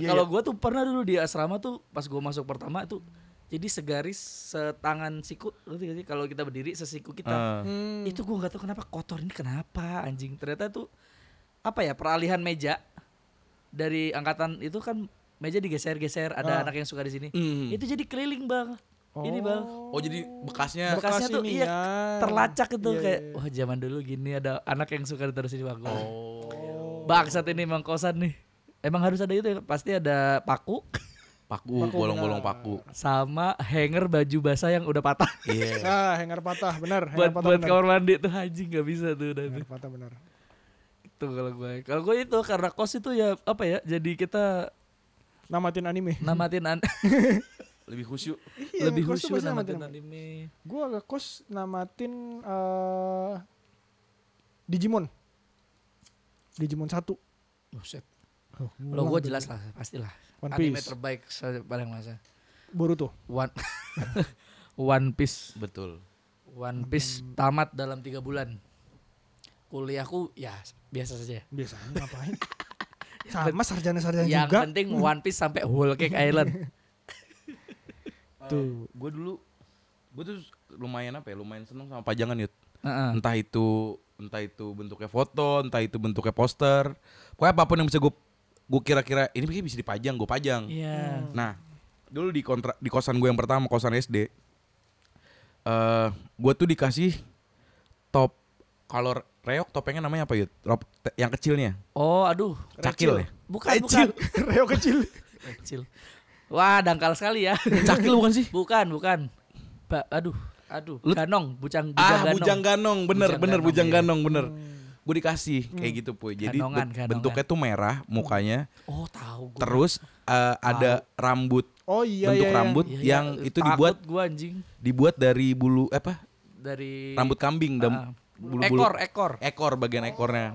Speaker 1: Iya,
Speaker 3: kalau gue tuh pernah dulu di asrama tuh pas gue masuk pertama tuh jadi segaris setangan siku ngerti nggak sih? kalau kita berdiri sesiku kita
Speaker 1: Ah.
Speaker 2: Hmm.
Speaker 3: itu gue nggak tahu kenapa kotor ini kenapa anjing ternyata tuh apa ya peralihan meja dari angkatan itu kan meja digeser-geser ada
Speaker 2: Ah.
Speaker 3: anak yang suka di sini
Speaker 1: Hmm.
Speaker 3: itu jadi keliling bang ini bang
Speaker 1: Oh jadi bekasnya
Speaker 3: Bekas- Bekasnya tuh iya,
Speaker 2: ini ya.
Speaker 3: terlacak itu
Speaker 2: Iya,
Speaker 3: kayak
Speaker 2: iya.
Speaker 3: wah zaman dulu gini ada anak yang suka ditaruh sini bang
Speaker 1: Oh,
Speaker 3: bangsat ini emang kosan nih emang harus ada itu ya? pasti ada paku
Speaker 1: paku, bolong-bolong paku.
Speaker 3: sama hanger baju basah yang udah patah
Speaker 1: Iya.
Speaker 2: Ah, hanger patah, benar. Hanger kan? Iya.
Speaker 3: buat
Speaker 2: patah
Speaker 3: buat
Speaker 2: benar.
Speaker 3: kamar mandi tuh anjing nggak bisa tuh udah tuh.
Speaker 2: Hanger patah benar.
Speaker 3: itu kalau gue kalau gue itu karena kos itu ya apa ya jadi kita
Speaker 2: Namatin anime.
Speaker 3: namatin an-
Speaker 1: Lebih khusyuk.
Speaker 2: Iya,
Speaker 3: lebih
Speaker 2: kos
Speaker 3: khusyuk
Speaker 2: tuh pasti
Speaker 3: namatin
Speaker 2: anime.
Speaker 3: anime
Speaker 2: Gua agak kos namatin eh Digimon. Digimon 1.
Speaker 3: Buset.
Speaker 2: Oh,
Speaker 3: Lo gue jelas lah, pastilah.
Speaker 2: One
Speaker 3: Anime
Speaker 2: Piece.
Speaker 3: terbaik sepanjang masa.
Speaker 2: Boruto.
Speaker 3: One One Piece.
Speaker 1: Betul.
Speaker 3: One Piece tamat dalam tiga bulan. Kuliahku ya biasa saja.
Speaker 2: Biasanya ngapain? Sama sarjana-sarjana
Speaker 3: Yang
Speaker 2: juga.
Speaker 3: penting One Piece sampai Whole Cake Island.
Speaker 2: Tuh.
Speaker 1: Gue dulu gue tuh lumayan apa ya? Lumayan seneng sama pajangan yut.
Speaker 3: Heeh.
Speaker 1: Entah itu entah itu bentuknya foto, entah itu bentuknya poster. Pokoknya apapun yang bisa gue gue kira-kira ini kayaknya bisa dipajang, gue pajang.
Speaker 3: Iya.
Speaker 1: Nah, dulu di kontra, di kosan gue yang pertama kosan SD, eh gue tuh dikasih top kalau reok topengnya namanya apa yut? Rop- te- yang kecilnya,
Speaker 3: Oh, aduh.
Speaker 1: cakil ya?
Speaker 3: Bukan, bukan.
Speaker 2: Reo kecil.
Speaker 3: Kecil. Wah, dangkal sekali ya.
Speaker 1: Cakil bukan sih?
Speaker 3: bukan, bukan. Ba- aduh, aduh.
Speaker 1: Lu-
Speaker 3: Ganong, bucang, bujang
Speaker 1: Ah,
Speaker 3: ganong.
Speaker 1: bujang ganong, bener,
Speaker 3: Bujang
Speaker 1: bener,
Speaker 3: ganong,
Speaker 1: bujang
Speaker 3: iya. Hmm.
Speaker 1: ganong, bener. Gue dikasih kayak gitu puy. Jadi
Speaker 3: Ganongan,
Speaker 1: ben-
Speaker 3: ganongan.
Speaker 1: bentuknya tuh merah mukanya,
Speaker 3: Oh, tahu gua.
Speaker 1: terus eh, ada rambut
Speaker 2: Oh
Speaker 1: bentuk
Speaker 2: iya iya, iya.
Speaker 1: rambut
Speaker 3: Iya, iya,
Speaker 1: yang itu
Speaker 3: takut
Speaker 1: dibuat
Speaker 3: gua anjing
Speaker 1: dibuat dari bulu apa?
Speaker 3: dari
Speaker 1: Rambut kambing dan
Speaker 3: Ah,
Speaker 1: bulu-bulu
Speaker 3: ekor, ekor.
Speaker 1: ekor bagian
Speaker 2: Oh, iya,
Speaker 1: ekornya.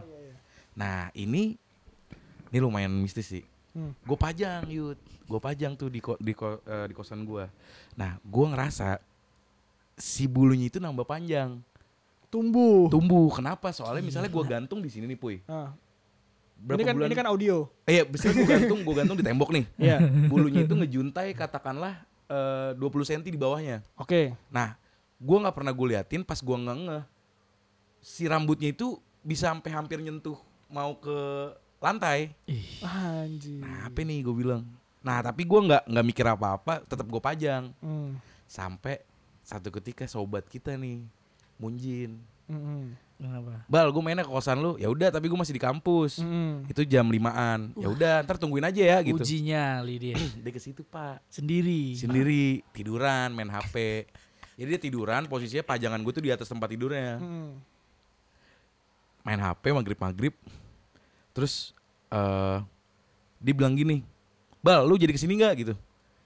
Speaker 1: Nah ini ini lumayan mistis sih.
Speaker 2: Hmm.
Speaker 1: Gue pajang yud, gue pajang tuh di ko- di, ko- eh, di kosan gue. Nah gue ngerasa si bulunya itu nambah panjang,
Speaker 2: Tumbuh.
Speaker 1: tumbuh. Kenapa? Soalnya misalnya gue gantung di sini nih puy.
Speaker 2: Ah.
Speaker 1: Berapa
Speaker 2: ini kan
Speaker 1: bulan?
Speaker 2: ini kan audio.
Speaker 1: Eh, iya, misalnya gue gantung, gue gantung di tembok nih.
Speaker 2: Iya.
Speaker 1: Bulunya itu ngejuntai katakanlah eh, 20 cm di bawahnya.
Speaker 2: Oke.
Speaker 1: Nah, gue nggak pernah gue liatin pas gue nggak ngeh si rambutnya itu bisa sampai hampir nyentuh mau ke lantai.
Speaker 2: Anjir.
Speaker 1: Nah, apa nih gue bilang? Nah, tapi gue nggak nggak mikir apa-apa, tetap gue pajang
Speaker 2: Hmm.
Speaker 1: sampai satu ketika sobat kita nih Munjin.
Speaker 2: Mm-mm.
Speaker 3: Kenapa?
Speaker 1: Bal, gue mainnya ke kosan lu. Ya udah, tapi gue masih di kampus.
Speaker 2: Mm-mm.
Speaker 1: Itu jam 5-an. Ya udah, ntar tungguin aja ya gitu.
Speaker 3: Ujinya Lydia
Speaker 1: Dia ke situ, Pak.
Speaker 3: sendiri.
Speaker 1: Sendiri tiduran, main HP. Jadi dia tiduran, posisinya pajangan gue tuh di atas tempat tidurnya.
Speaker 2: Mm-mm.
Speaker 1: main HP maghrib maghrib terus eh dia bilang gini bal lu jadi kesini nggak gitu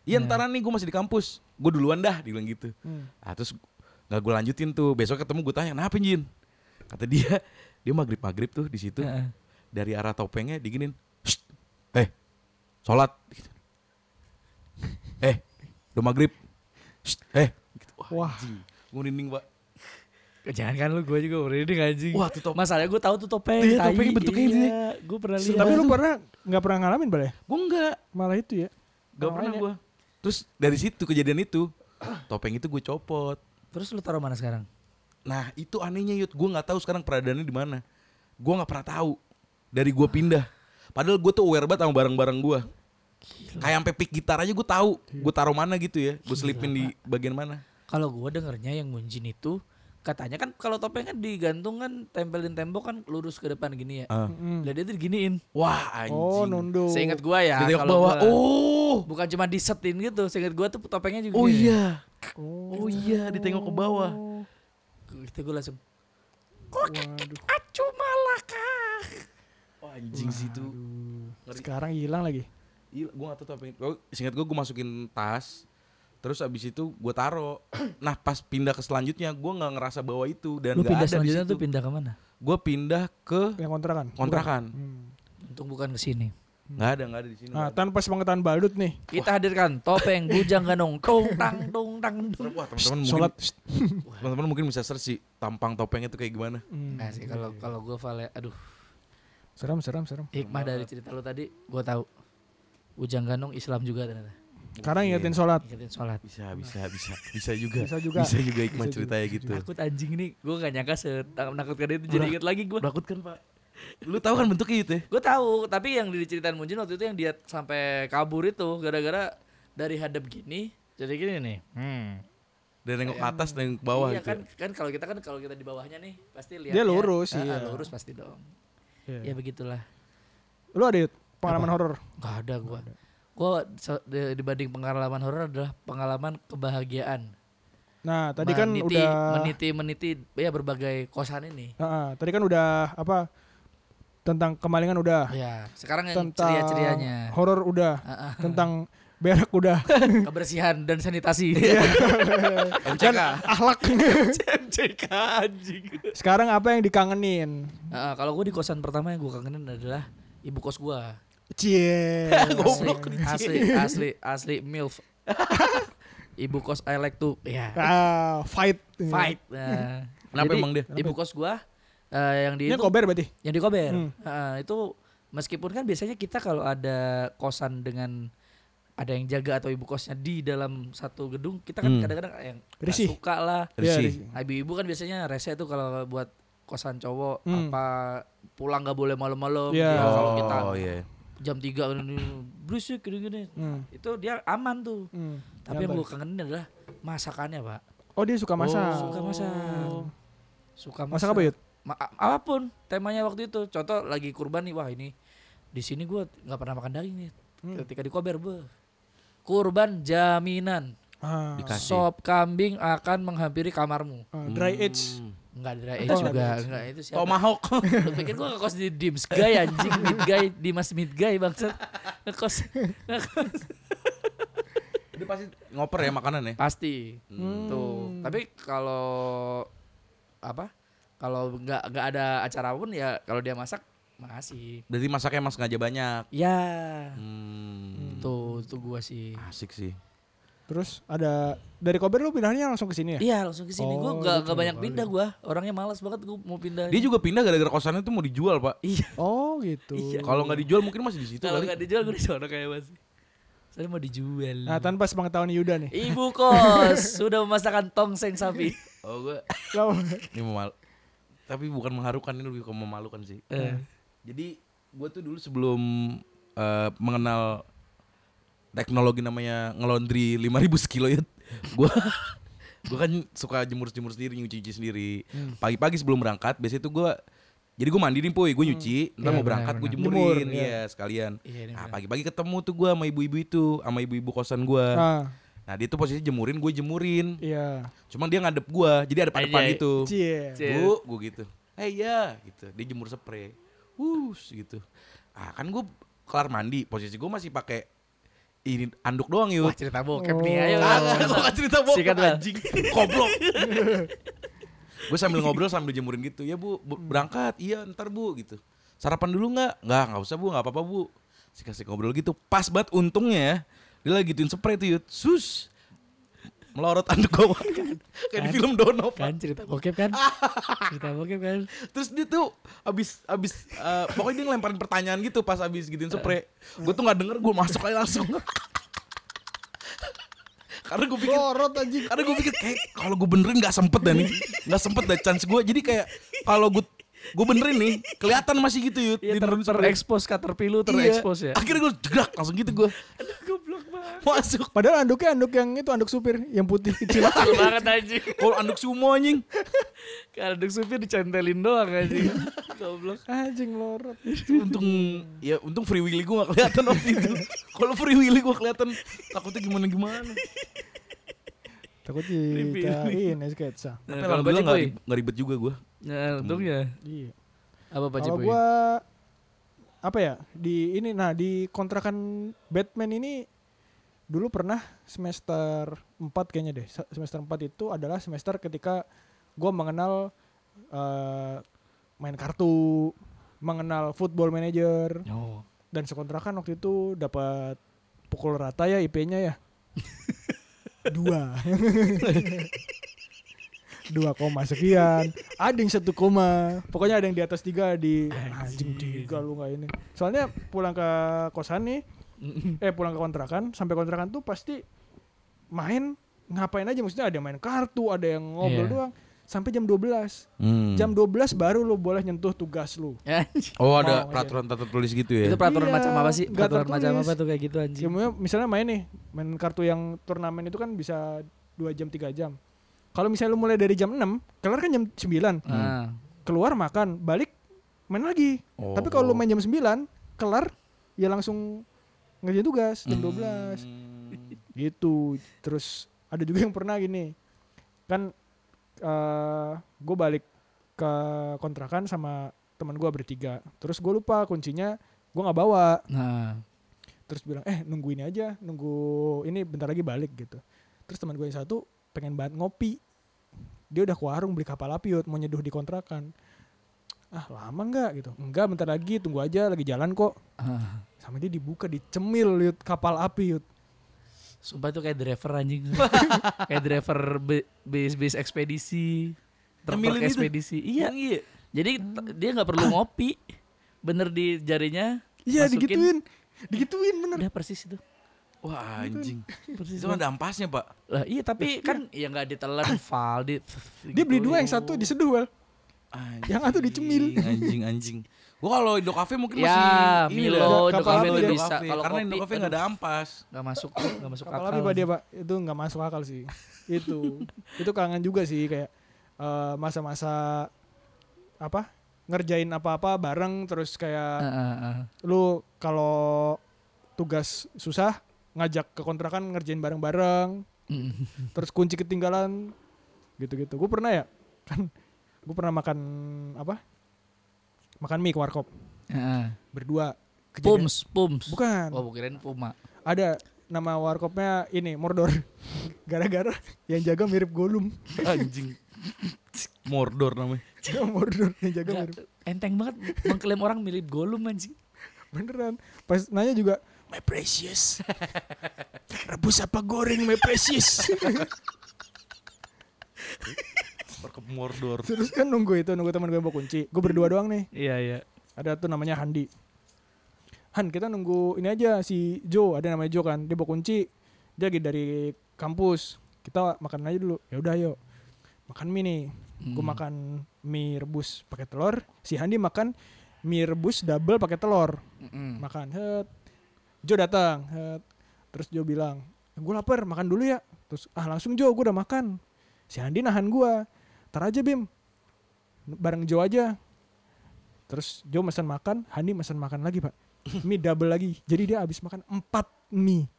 Speaker 1: iya ntaran nih gue masih di kampus gue duluan dah dia bilang gitu
Speaker 2: Hmm.
Speaker 1: ah, terus nggak gue lanjutin tuh besok ketemu gue tanya kenapa Jin kata dia dia maghrib maghrib tuh di situ
Speaker 3: Heeh.
Speaker 1: dari arah topengnya diginin "Shh, eh sholat gitu. eh udah maghrib Shh, eh gitu.
Speaker 2: Wah.
Speaker 1: gue merinding pak
Speaker 3: Jangan kan lu gue juga merinding anjing.
Speaker 1: Wah, tuh top-
Speaker 3: Masalahnya gue tahu tuh topeng.
Speaker 1: Iya,
Speaker 3: tai.
Speaker 1: topengnya bentuknya itu ya.
Speaker 3: Iya, Gue pernah lihat.
Speaker 2: Tapi lu pernah nggak pernah ngalamin boleh?
Speaker 1: gue enggak
Speaker 2: Malah itu ya.
Speaker 1: Gak
Speaker 2: Makanya.
Speaker 1: pernah gue. Terus dari situ kejadian itu, topeng itu gue copot.
Speaker 3: Terus lu taruh mana sekarang?
Speaker 1: Nah itu anehnya Yud, gue nggak tahu sekarang peradaannya di mana. Gue nggak pernah tahu dari gue pindah. Padahal gue tuh aware banget sama barang-barang gue. Kayak sampai pick gitar aja gue tahu. Gue taruh mana gitu ya. Gue selipin di bagian mana.
Speaker 3: Kalau gua dengernya yang Munjin itu katanya kan kalau topeng kan digantung kan tempelin tembok kan lurus ke depan gini ya.
Speaker 1: Ah.
Speaker 2: Mm-mm.
Speaker 3: Lah dia tuh diginiin.
Speaker 1: Wah anjing.
Speaker 2: Oh, nondo.
Speaker 3: Seingat gua ya
Speaker 1: Jadi
Speaker 3: kalau
Speaker 1: bawa.
Speaker 3: gua-
Speaker 1: Oh.
Speaker 3: bukan cuma disetin gitu. Seingat gua tuh topengnya juga.
Speaker 1: Oh
Speaker 3: gini.
Speaker 1: iya. Oh
Speaker 2: Oh,
Speaker 1: iya, ditengok ke bawah.
Speaker 3: Gitu gua langsung
Speaker 2: waduh.
Speaker 3: acu malaka.
Speaker 1: Oh, anjing sih itu. Ngeri.
Speaker 2: Sekarang hilang lagi.
Speaker 1: Gila, gue gak tau tuh apa yang Iya, gua- Seingat gue, gue masukin tas Terus abis itu gue taro Nah pas pindah ke selanjutnya Gue gak ngerasa bawa itu Dan
Speaker 3: Lu
Speaker 1: gak
Speaker 3: pindah
Speaker 1: ada di
Speaker 3: selanjutnya
Speaker 1: situ
Speaker 3: tuh pindah ke mana?
Speaker 1: Gue pindah ke
Speaker 2: Yang kontrakan.
Speaker 1: kontrakan
Speaker 2: Hmm.
Speaker 3: Untung bukan ke sini.
Speaker 1: Gak ada, gak ada di sini
Speaker 2: Nah,
Speaker 1: nggak ada.
Speaker 2: tanpa sepengetahuan badut nih.
Speaker 3: Kita hadirkan topeng bujang ganong tung tang tung tang dung.
Speaker 1: Wah teman-teman mungkin
Speaker 2: Sholat.
Speaker 1: Teman-teman mungkin bisa search sih Tampang topengnya tuh kayak gimana
Speaker 2: Hmm.
Speaker 3: Nah sih kalau kalau gua vale aduh
Speaker 2: Serem, serem, serem.
Speaker 3: hikmah dari cerita lu tadi gua tahu. Bujang ganong Islam juga ternyata.
Speaker 2: Sekarang ingetin sholat.
Speaker 3: Ingetin sholat.
Speaker 1: Bisa, bisa, bisa Bisa juga
Speaker 2: Bisa juga.
Speaker 1: Bisa juga hikmah
Speaker 2: Bisa juga,
Speaker 1: ceritanya
Speaker 2: bisa
Speaker 1: gitu
Speaker 3: Takut anjing nih, gue gak nyangka menakutkan itu jadi inget lagi gue.
Speaker 1: Takut kan pak Lu tahu kan bentuknya gitu ya
Speaker 3: Gue tahu, tapi yang diceritain Munjin waktu itu yang dia sampai kabur itu gara-gara dari hadap gini jadi gini nih.
Speaker 1: Dan nengok ke atas, nengok ke bawah
Speaker 3: iya
Speaker 1: gitu
Speaker 3: kan, kan kalau kita kan kalau kita di bawahnya nih pasti lihat ya.
Speaker 2: Dia lurus, iya.
Speaker 3: Ah, lurus pasti dong. Ya
Speaker 2: Iya.
Speaker 3: begitulah.
Speaker 2: Lu ada Yud? pengalaman horor?
Speaker 3: Gak ada gue. Gue dibanding pengalaman horor adalah pengalaman kebahagiaan.
Speaker 2: Nah, tadi kan
Speaker 3: Meniti-
Speaker 2: udah
Speaker 3: meniti meniti ya berbagai kosan ini.
Speaker 2: Ah, ah, tadi kan udah apa? Tentang kemalingan udah.
Speaker 3: Ya, sekarang yang
Speaker 2: Ah, Tentang
Speaker 3: ceria-cerianya. Ah,
Speaker 2: horor udah. Tentang berak udah.
Speaker 1: Kan
Speaker 3: kebersihan dan sanitasi.
Speaker 2: Iya. Kan
Speaker 1: MCK
Speaker 2: Akhlak.
Speaker 3: CMCK anjing.
Speaker 2: Sekarang apa yang dikangenin?
Speaker 3: Nah, kalau gue di kosan pertama yang gue kangenin adalah ibu kos gue.
Speaker 2: Cie.
Speaker 3: Asli, asli, asli, asli milf. ibu kos I like to ya
Speaker 2: Ah, fight.
Speaker 3: fight. Nah,
Speaker 1: Kenapa
Speaker 3: jadi
Speaker 1: emang dia?
Speaker 3: Ibu kos gue yang di
Speaker 2: Ini
Speaker 3: itu-
Speaker 2: kober berarti.
Speaker 3: yang di Kober.
Speaker 2: Hmm.
Speaker 3: Nah, itu meskipun kan biasanya kita kalau ada kosan dengan ada yang jaga atau ibu kosnya di dalam satu gedung, kita kan
Speaker 1: Hmm.
Speaker 3: kadang-kadang yang nggak
Speaker 2: Risih.
Speaker 3: suka lah.
Speaker 2: Iya,
Speaker 1: Risih.
Speaker 2: risih.
Speaker 3: Nah, ibu-ibu kan biasanya rese tuh kalau buat kosan cowok
Speaker 2: Hmm.
Speaker 3: apa pulang nggak boleh malam-malam
Speaker 2: Iya.
Speaker 3: Dia kalau kita Ah.
Speaker 1: Oh iya
Speaker 3: jam 3 gini, berisik gini-gini
Speaker 2: Hmm,
Speaker 3: itu dia aman tuh
Speaker 2: hmm.
Speaker 3: tapi yang
Speaker 2: Nyantai.
Speaker 3: gue kangenin adalah masakannya pak
Speaker 2: Oh, dia suka masak. Oh.
Speaker 3: suka masak suka masak,
Speaker 2: Masak apa, ya, Yud?
Speaker 3: Ma- a- apapun temanya waktu itu contoh lagi kurban nih wah ini di sini gue nggak pernah makan daging nih
Speaker 2: Hmm.
Speaker 3: ketika di kober beuh. kurban jaminan
Speaker 2: Ah,
Speaker 1: Dikasih. Hmm.
Speaker 3: sop kambing akan menghampiri kamarmu
Speaker 2: ah, dry age.
Speaker 3: nggak ada
Speaker 2: Oh,
Speaker 3: eh
Speaker 2: nggak
Speaker 3: juga
Speaker 2: ada.
Speaker 3: nggak itu siapa
Speaker 1: Tomahawk
Speaker 3: Lu pikir gua ngekos di Dims Guy anjing Mid Guy Dimas Mid Guy bangset Ngekos ngekos.
Speaker 1: Dia pasti ngoper ya makanan ya.
Speaker 3: Pasti
Speaker 1: Hmm.
Speaker 3: Tuh Tapi kalau Apa Kalau nggak nggak ada acara pun ya Kalau dia masak Masih
Speaker 1: Berarti masaknya emang sengaja banyak.
Speaker 3: Ya
Speaker 1: Hmm.
Speaker 3: Tuh Itu gua sih
Speaker 1: Asik sih.
Speaker 2: Terus ada dari kober lu pindahnya langsung ke sini ya?
Speaker 3: Iya langsung ke sini.
Speaker 2: Oh,
Speaker 3: gua
Speaker 2: lu
Speaker 3: nggak nggak
Speaker 2: cuma
Speaker 3: banyak
Speaker 2: kali.
Speaker 3: pindah gua. Orangnya malas banget gua mau pindah.
Speaker 1: Dia juga pindah gara-gara kosannya tuh mau dijual, Pak.
Speaker 3: Iya.
Speaker 2: Oh, gitu.
Speaker 1: Kalau nggak dijual mungkin masih di situ
Speaker 3: Kalau
Speaker 1: kali.
Speaker 3: nggak dijual gua di sana kayak masih. Saya mau dijual.
Speaker 2: Nah, tanpa sepengetahuan Yuda nih.
Speaker 3: Ibu kos sudah memasakkan tongseng sapi.
Speaker 1: Oh, gue
Speaker 2: Lah,
Speaker 1: ini memal. Tapi bukan mengharukan ini lebih ke memalukan sih.
Speaker 3: Eh.
Speaker 1: Jadi gue tuh dulu sebelum eh, mengenal teknologi namanya ngelondri 5000 sekilo ya. Gue gue kan suka jemur-jemur sendiri, nyuci-nyuci sendiri.
Speaker 3: Hmm.
Speaker 1: Pagi-pagi sebelum berangkat, biasanya tuh gue jadi gue mandi nih puy, gue nyuci, ntar
Speaker 3: Iya,
Speaker 1: mau berangkat gue
Speaker 3: benar-benar.
Speaker 1: jemurin,
Speaker 2: Jemur,
Speaker 1: iya sekalian.
Speaker 3: Iya, ini
Speaker 1: Nah
Speaker 3: benar.
Speaker 1: pagi-pagi ketemu tuh gue sama ibu-ibu itu, sama ibu-ibu kosan gue.
Speaker 3: Eh.
Speaker 2: Ah,
Speaker 1: Nah dia tuh posisi jemurin, gue jemurin.
Speaker 2: iya.
Speaker 1: Cuman dia ngadep gue, jadi ada depan
Speaker 3: Anjay.
Speaker 1: gitu.
Speaker 2: Cie.
Speaker 3: Cie.
Speaker 1: Bu, gue gitu. Eh iya, gitu. Dia jemur spray. Wus gitu. Ah kan gue kelar mandi, posisi gue masih pakai ini anduk doang
Speaker 3: Wah
Speaker 1: yuk.
Speaker 3: cerita bokep nih ya.
Speaker 2: Oh.
Speaker 3: ayo.
Speaker 1: Kagak, gue gak cerita bokep
Speaker 3: Sikat, Bang.
Speaker 1: anjing. Goblok. gue sambil ngobrol sambil jemurin gitu. Ya bu, bu, berangkat. Iya ntar bu gitu. Sarapan dulu nggak? Nggak, nggak usah bu, nggak apa-apa bu. Sikasik ngobrol gitu. Pas banget untungnya ya. Dia lagi gituin spray tuh yuk. Sus. Melorot anduk gue. Kayak di film Dono. Pak.
Speaker 3: Kan cerita bokep kan? cerita bokep kan?
Speaker 1: Terus dia tuh abis abis eh, pokoknya dia ngelemparin pertanyaan gitu pas abis gituin spray. Gue tuh nggak denger, gue masuk aja langsung. karena gue pikir
Speaker 2: Lorot anjing.
Speaker 1: karena gue pikir kayak kalau gue benerin nggak sempet dah nih, nggak sempet dah chance gue. Jadi kayak kalau gue Gue benerin nih, kelihatan masih gitu yuk.
Speaker 3: Iya, ter terekspos Caterpillar terekspos ya.
Speaker 1: Iya. Akhirnya gue jedak langsung gitu gue.
Speaker 3: Aduh goblok banget.
Speaker 1: Masuk.
Speaker 2: Padahal anduknya anduk yang itu anduk supir yang putih kecil.
Speaker 3: Goblok banget anjing.
Speaker 1: Kalau anduk sumo anjing.
Speaker 3: Kadang supir dicentelin doang anjing. Goblok.
Speaker 2: Anjing lorot.
Speaker 1: Untung ya untung free willy gue gak kelihatan waktu itu. Kalau free willy gue kelihatan takutnya gimana gimana.
Speaker 2: Takut dicariin ya sketsa.
Speaker 1: Tapi alhamdulillah
Speaker 3: kalau Pak
Speaker 1: nggak
Speaker 3: Jokowi?
Speaker 1: rib- nggak ribet juga gue.
Speaker 3: Nah, untungnya
Speaker 2: Iya.
Speaker 3: apa Pak
Speaker 2: Kalau
Speaker 3: Cipuy?
Speaker 2: gua apa ya di ini nah di kontrakan Batman ini dulu pernah semester 4 kayaknya deh. Se- Semester 4 itu adalah semester ketika gua mengenal eh, main kartu, mengenal football manager
Speaker 3: Oh.
Speaker 2: dan sekontrakan waktu itu dapat pukul rata ya IP-nya ya. Dua. Dua koma sekian. Ada yang satu koma. Pokoknya ada yang di atas tiga di "Ah, anjing tiga lu nggak ini. Soalnya pulang ke kosan nih, eh pulang ke kontrakan, sampai kontrakan tuh pasti main ngapain aja maksudnya ada yang main kartu, ada yang ngobrol
Speaker 3: Iya.
Speaker 2: doang sampai jam 12. Jam 12 baru lu boleh nyentuh tugas lu.
Speaker 3: Ya, Anjing.
Speaker 1: Hmm. Oh ada
Speaker 2: Mau aja.
Speaker 1: peraturan tertulis gitu ya.
Speaker 3: Itu peraturan
Speaker 2: Iya,
Speaker 3: macam apa sih?
Speaker 2: nggak
Speaker 3: Peraturan macam
Speaker 2: tertulis.
Speaker 3: apa tuh kayak gitu anjing?
Speaker 2: Ya, maksudnya misalnya main nih, main kartu yang turnamen itu kan bisa 2 jam 3 jam. Kalau misalnya lu mulai dari jam 6, kelar kan jam 9.
Speaker 3: Nah,
Speaker 2: Keluar makan, balik main lagi.
Speaker 1: Oh.
Speaker 2: Tapi kalau lu main jam 9, kelar ya langsung ngerjain tugas jam 12. Gitu. Terus ada juga yang pernah gini. Kan eh gue balik ke kontrakan sama teman gua bertiga. Terus gue lupa kuncinya gua nggak bawa
Speaker 3: nah.
Speaker 2: terus bilang eh nunggu ini aja nunggu ini bentar lagi balik gitu terus teman gue yang satu pengen banget ngopi dia udah ke warung beli kapal api Yud, mau nyeduh di kontrakan ah lama nggak gitu enggak bentar lagi tunggu aja lagi jalan kok
Speaker 3: Ah.
Speaker 2: sama dia dibuka dicemil yud kapal api yud
Speaker 3: Sumpah tuh kayak driver anjing. kayak driver be- bis-bis ekspedisi. Truk-truk
Speaker 1: Nyemilin itu?
Speaker 3: ekspedisi. Iya.
Speaker 1: iya.
Speaker 3: Jadi t- dia nggak perlu ngopi. Bener di jarinya.
Speaker 2: Ah. iya
Speaker 3: masukin.
Speaker 2: digituin digituin bener
Speaker 3: Udah persis itu.
Speaker 1: Wah anjing.
Speaker 3: Persis.
Speaker 1: Itu ada ampasnya pak.
Speaker 3: Lah iya tapi kan ya nggak ditelan fal di
Speaker 2: dia beli dua yang satu diseduh well
Speaker 1: Anjing,
Speaker 2: Yang satu dicemil.
Speaker 1: Anjing anjing. Gua kalau Indocafe mungkin
Speaker 3: Ya,
Speaker 1: masih
Speaker 3: Milo,
Speaker 1: dah.
Speaker 2: Indocafe
Speaker 1: Milo,
Speaker 2: tuh
Speaker 3: bisa.
Speaker 1: Indocafe.
Speaker 3: Kalau
Speaker 1: Karena
Speaker 3: kopi,
Speaker 1: Indocafe nggak ada ampas.
Speaker 3: nggak masuk nggak masuk
Speaker 2: kapal
Speaker 3: akal.
Speaker 2: api pak dia pak itu nggak masuk akal sih itu itu kangen juga sih kayak eh, masa-masa apa ngerjain apa-apa bareng terus kayak
Speaker 3: Ah, ah, ah.
Speaker 2: lu kalau tugas susah ngajak ke kontrakan ngerjain bareng-bareng
Speaker 3: Mm.
Speaker 2: terus kunci ketinggalan gitu-gitu gue pernah ya kan gue pernah makan apa makan mie ke warkop
Speaker 3: Ah, ah.
Speaker 2: berdua Kejadian-
Speaker 3: Pums, pums.
Speaker 2: bukan
Speaker 3: Oh, kirain puma.
Speaker 2: ada nama warkopnya ini Mordor gara-gara yang jaga mirip Gollum
Speaker 1: Anjing. Mordor namanya.
Speaker 2: Jaga Mordor yang jaga
Speaker 3: Nggak,
Speaker 2: mirip
Speaker 3: enteng banget mengklaim orang mirip Gollum anjing.
Speaker 2: beneran pas nanya juga my precious rebus apa goreng my precious
Speaker 1: Perkep Mordor.
Speaker 2: terus kan nunggu itu nunggu teman gue bawa kunci gue berdua doang nih
Speaker 3: Iya, iya.
Speaker 2: ada tuh namanya Handi Han kita nunggu ini aja si Joe ada namanya Joe kan dia bawa kunci dia lagi dari kampus kita makan aja dulu ya udah yuk makan mie nih gue
Speaker 3: Hmm.
Speaker 2: makan mie rebus pakai telur si Handi makan mie rebus double pakai telur
Speaker 3: Mm-mm.
Speaker 2: makan het Jo datang het terus Jo bilang gue lapar makan dulu ya terus ah langsung Jo gue udah makan si Handi nahan gue tar aja Bim bareng Jo aja terus Jo pesan makan Handi pesan makan lagi pak mie double lagi jadi dia habis makan empat mie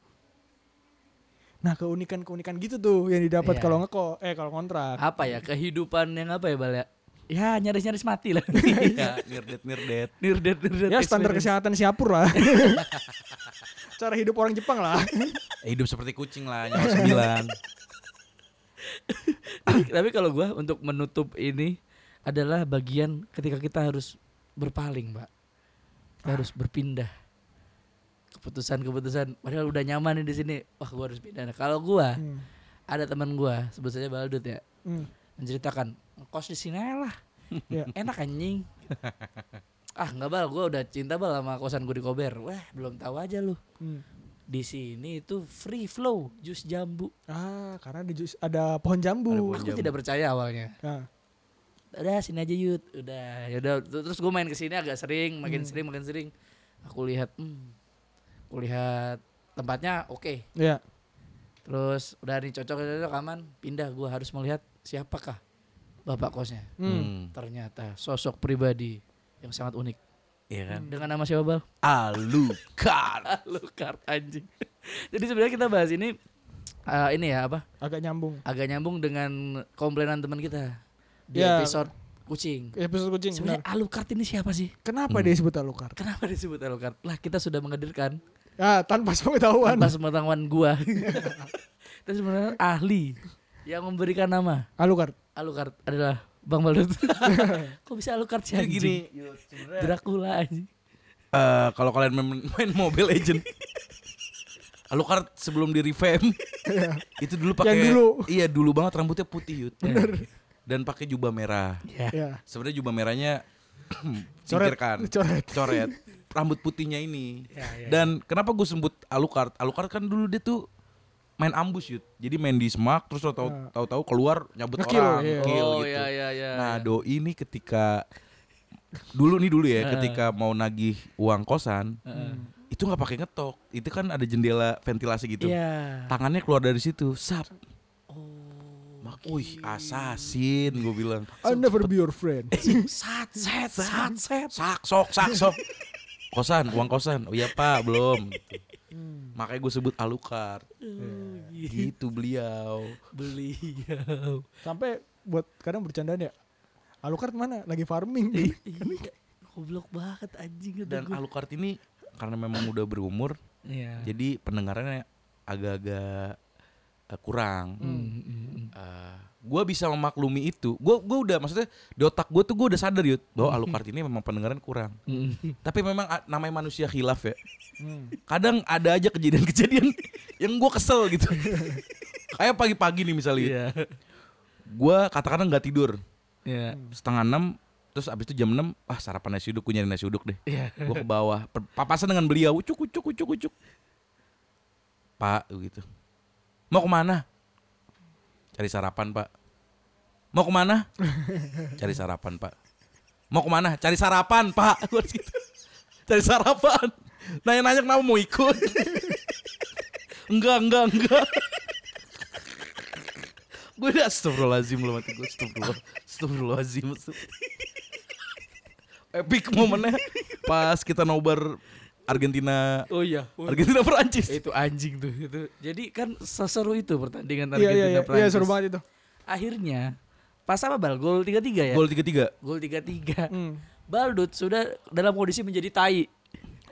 Speaker 2: nah keunikan keunikan gitu tuh yang didapat
Speaker 3: Iya.
Speaker 2: kalau ngeko eh kalau kontrak
Speaker 3: Apa ya kehidupan yang apa ya, Bal ya? Ya, nyaris-nyaris mati lah.
Speaker 1: Iya, nirdet nirdet.
Speaker 3: nirdet, nirdet.
Speaker 2: ya standar
Speaker 3: experience.
Speaker 2: kesehatan Singapura lah cara hidup orang Jepang lah
Speaker 1: Eh, Hidup seperti kucing lah, nyawa sembilan.
Speaker 3: Tapi- Tapi kalau gua untuk menutup ini adalah bagian ketika kita harus berpaling, Pak.
Speaker 2: Ah.
Speaker 3: Kita harus berpindah. Keputusan-keputusan padahal udah nyaman nih di sini. Wah, gua harus pindah. Nah, kalau gua
Speaker 2: Hmm.
Speaker 3: ada teman gua, sebut saja Baldut ya,
Speaker 2: Hmm.
Speaker 3: menceritakan, "Kos di sini aja lah.
Speaker 2: Ya.
Speaker 3: Enak anjing." ah, nggak bal, gua udah cinta bal sama kosan gua di Kober. Wah, belum tahu aja lu.
Speaker 2: Hmm.
Speaker 3: Di sini itu free flow jus jambu.
Speaker 2: Ah, karena ada jus, ada pohon jambu.
Speaker 1: Ada pohon
Speaker 3: Aku
Speaker 1: Jambu.
Speaker 3: tidak percaya awalnya.
Speaker 2: Nah,
Speaker 3: udah sini aja yud udah ya udah terus gue main kesini agak sering makin sering makin sering aku lihat hmm, aku lihat tempatnya oke
Speaker 2: Iya.
Speaker 3: terus udah nih cocok cocok aman pindah gue harus melihat siapakah bapak kosnya
Speaker 2: Hmm.
Speaker 3: ternyata sosok pribadi yang sangat unik
Speaker 1: Iya kan? Ah.
Speaker 3: dengan nama siapa bal
Speaker 1: Alucard.
Speaker 3: Alucard anjing jadi sebenarnya kita bahas ini eh, ini ya apa
Speaker 2: Agak nyambung.
Speaker 3: agak nyambung dengan komplainan teman kita di
Speaker 2: Ya.
Speaker 3: episode kucing
Speaker 2: Episode kucing.
Speaker 3: sebenarnya
Speaker 2: benar.
Speaker 3: Alucard ini siapa sih
Speaker 2: Kenapa dia disebut Alucard?
Speaker 3: Kenapa disebut Alucard? Lah kita sudah menghadirkan
Speaker 2: Ah, tanpa sepengetahuan.
Speaker 3: tanpa sepengetahuan gua. Itu sebenarnya ahli yang memberikan nama
Speaker 2: Ah, Alucard.
Speaker 3: Alucard adalah Bang Baldut. Kok bisa Alucard sih
Speaker 1: Jadi gini,
Speaker 3: anjing? Dracula anjing.
Speaker 1: Eh, kalau kalian main, main Mobile Legend Alucard sebelum di revamp itu dulu pakai
Speaker 2: Iya. Yang dulu. Iya.
Speaker 1: iya dulu banget rambutnya putih yut dan pakai jubah merah
Speaker 3: Ya.
Speaker 2: Ya.
Speaker 1: sebenarnya jubah merahnya
Speaker 2: Coret.
Speaker 1: singkirkan
Speaker 2: Coret.
Speaker 1: coret rambut putihnya
Speaker 2: Iya,
Speaker 1: ini
Speaker 3: Ya, ya.
Speaker 1: dan kenapa gue sebut Alucard Alucard kan dulu dia tuh main ambus yut jadi main di semak terus tau
Speaker 2: Ya.
Speaker 1: tahu tahu keluar nyabut
Speaker 2: Ngekill,
Speaker 1: orang
Speaker 2: iya.
Speaker 1: ngekill
Speaker 3: Oh
Speaker 1: gitu
Speaker 3: ya ya ya.
Speaker 1: Nah, doi ini ketika dulu nih dulu ya, ketika mau nagih uang kosan, itu nggak pakai ngetok. Itu kan ada jendela ventilasi gitu.
Speaker 3: Iya.
Speaker 1: Tangannya keluar dari situ, sap.
Speaker 3: Oh.
Speaker 1: Mak, wih, asasin gue bilang.
Speaker 2: I'll never be your friend.
Speaker 3: Sat set sat set.
Speaker 1: Sak sok sak sok. Kosan, uang kosan. Oh iya, Pak, belum. Gitu.
Speaker 3: Hmm.
Speaker 1: Makanya gue sebut Alucard.
Speaker 3: Oh,
Speaker 1: Gitu beliau.
Speaker 3: Beliau.
Speaker 2: Sampai buat kadang bercandaan ya. Alucard mana? Lagi farming.
Speaker 3: Iya. Goblok banget anjing kata
Speaker 1: Dan
Speaker 3: gua.
Speaker 1: Alucard ini karena memang udah berumur,
Speaker 3: Iya.
Speaker 1: jadi pendengarannya agak-agak eh, kurang.
Speaker 3: Mm, mm, mm.
Speaker 1: gue bisa memaklumi itu gue gua udah maksudnya di otak gue tuh gue udah sadar yud bahwa Alucard ini memang pendengaran kurang
Speaker 3: Mm.
Speaker 1: tapi memang a- namanya manusia khilaf ya
Speaker 2: Hmm.
Speaker 1: kadang ada aja kejadian-kejadian yang gue kesel gitu kayak pagi-pagi nih misalnya
Speaker 3: Iya.
Speaker 1: gue katakanlah nggak tidur
Speaker 3: Iya.
Speaker 1: setengah enam terus abis itu jam enam ah sarapan nasi uduk gue nyari nasi uduk deh
Speaker 3: Iya.
Speaker 1: gue ke bawah per- papasan dengan beliau ucuk ucuk ucuk ucuk pak gitu mau kemana cari sarapan pak mau kemana cari sarapan pak mau kemana cari sarapan pak Gua harus gitu. cari sarapan nanya-nanya kenapa mau ikut enggak enggak enggak gue udah astagfirullahaladzim lu mati gue astagfirullah astagfirullahaladzim astagfirullah. epic momennya pas kita nobar Argentina
Speaker 3: Oh iya.
Speaker 1: Argentina Perancis
Speaker 3: itu anjing tuh itu jadi kan seseru itu pertandingan
Speaker 2: Iya,
Speaker 3: Argentina
Speaker 2: iya, iya. Iya,
Speaker 3: Prancis.
Speaker 2: seru banget itu.
Speaker 3: akhirnya pas apa bal gol tiga tiga ya
Speaker 1: gol 3-3
Speaker 3: gol tiga tiga
Speaker 2: Hmm.
Speaker 3: Baldut sudah dalam kondisi menjadi tai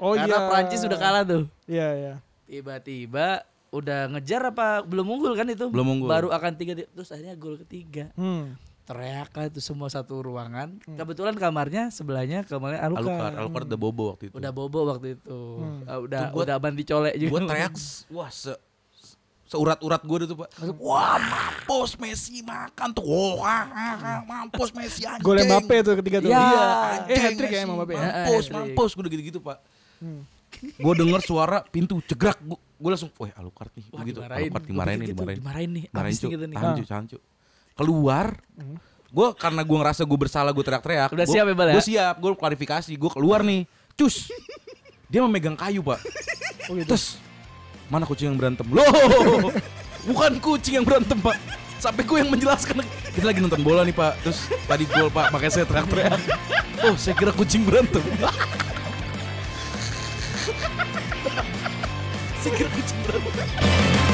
Speaker 2: Oh iya.
Speaker 3: karena Prancis sudah kalah tuh
Speaker 2: Iya, iya.
Speaker 3: tiba-tiba udah ngejar apa belum unggul kan itu
Speaker 1: Belum unggul.
Speaker 3: baru akan tiga tiga terus akhirnya gol ketiga
Speaker 2: Hmm.
Speaker 3: teriakan tuh semua satu ruangan kebetulan kamarnya sebelahnya kamarnya
Speaker 1: Alucard
Speaker 3: Aluka
Speaker 1: Alucard udah bobo waktu itu
Speaker 3: udah bobo waktu itu
Speaker 2: Hmm.
Speaker 3: Ah, udah
Speaker 1: Itu gua-
Speaker 3: udah banti colek juga
Speaker 1: gue teriak s- wah se se- seurat-urat gue tuh pak wah mampus Messi makan tuh wah ah, ah, ah, mampus Messi anjing
Speaker 2: Gol Mbappe tuh ketiga tuh.
Speaker 3: Iya.
Speaker 2: Eh,
Speaker 1: anjing
Speaker 2: hat-trick ya
Speaker 1: Messi,
Speaker 2: emang Mbappe Hmm. ya.
Speaker 1: mampus
Speaker 3: Eh, hat-trick.
Speaker 1: mampus gue udah gitu-gitu pak gue denger suara pintu cegrak gue langsung wah Alucard nih
Speaker 3: Wah,
Speaker 1: gitu
Speaker 3: dimarahin.
Speaker 1: Alucard
Speaker 3: Gua
Speaker 1: dimarahin
Speaker 3: pikir
Speaker 1: nih
Speaker 3: gitu,
Speaker 1: dimarahin
Speaker 3: dimarahin nih,
Speaker 1: dimarahin
Speaker 3: abis nih
Speaker 1: cu
Speaker 3: kita nih. Ah. Hmm.
Speaker 1: tahan cu tahan cu keluar gue karena gue ngerasa gue bersalah gue teriak-teriak
Speaker 3: Udah siap ya, Bal, ya?
Speaker 1: gue siap gue klarifikasi gue keluar nih cus dia memegang kayu pak
Speaker 2: Oh gitu.
Speaker 1: Terus mana kucing yang berantem? Loh, bukan kucing yang berantem pak. Sampai gue yang menjelaskan. Kita lagi nonton bola nih pak. Terus tadi gol pak, makanya saya teriak-teriak. Oh, saya kira kucing berantem. saya kira kucing berantem.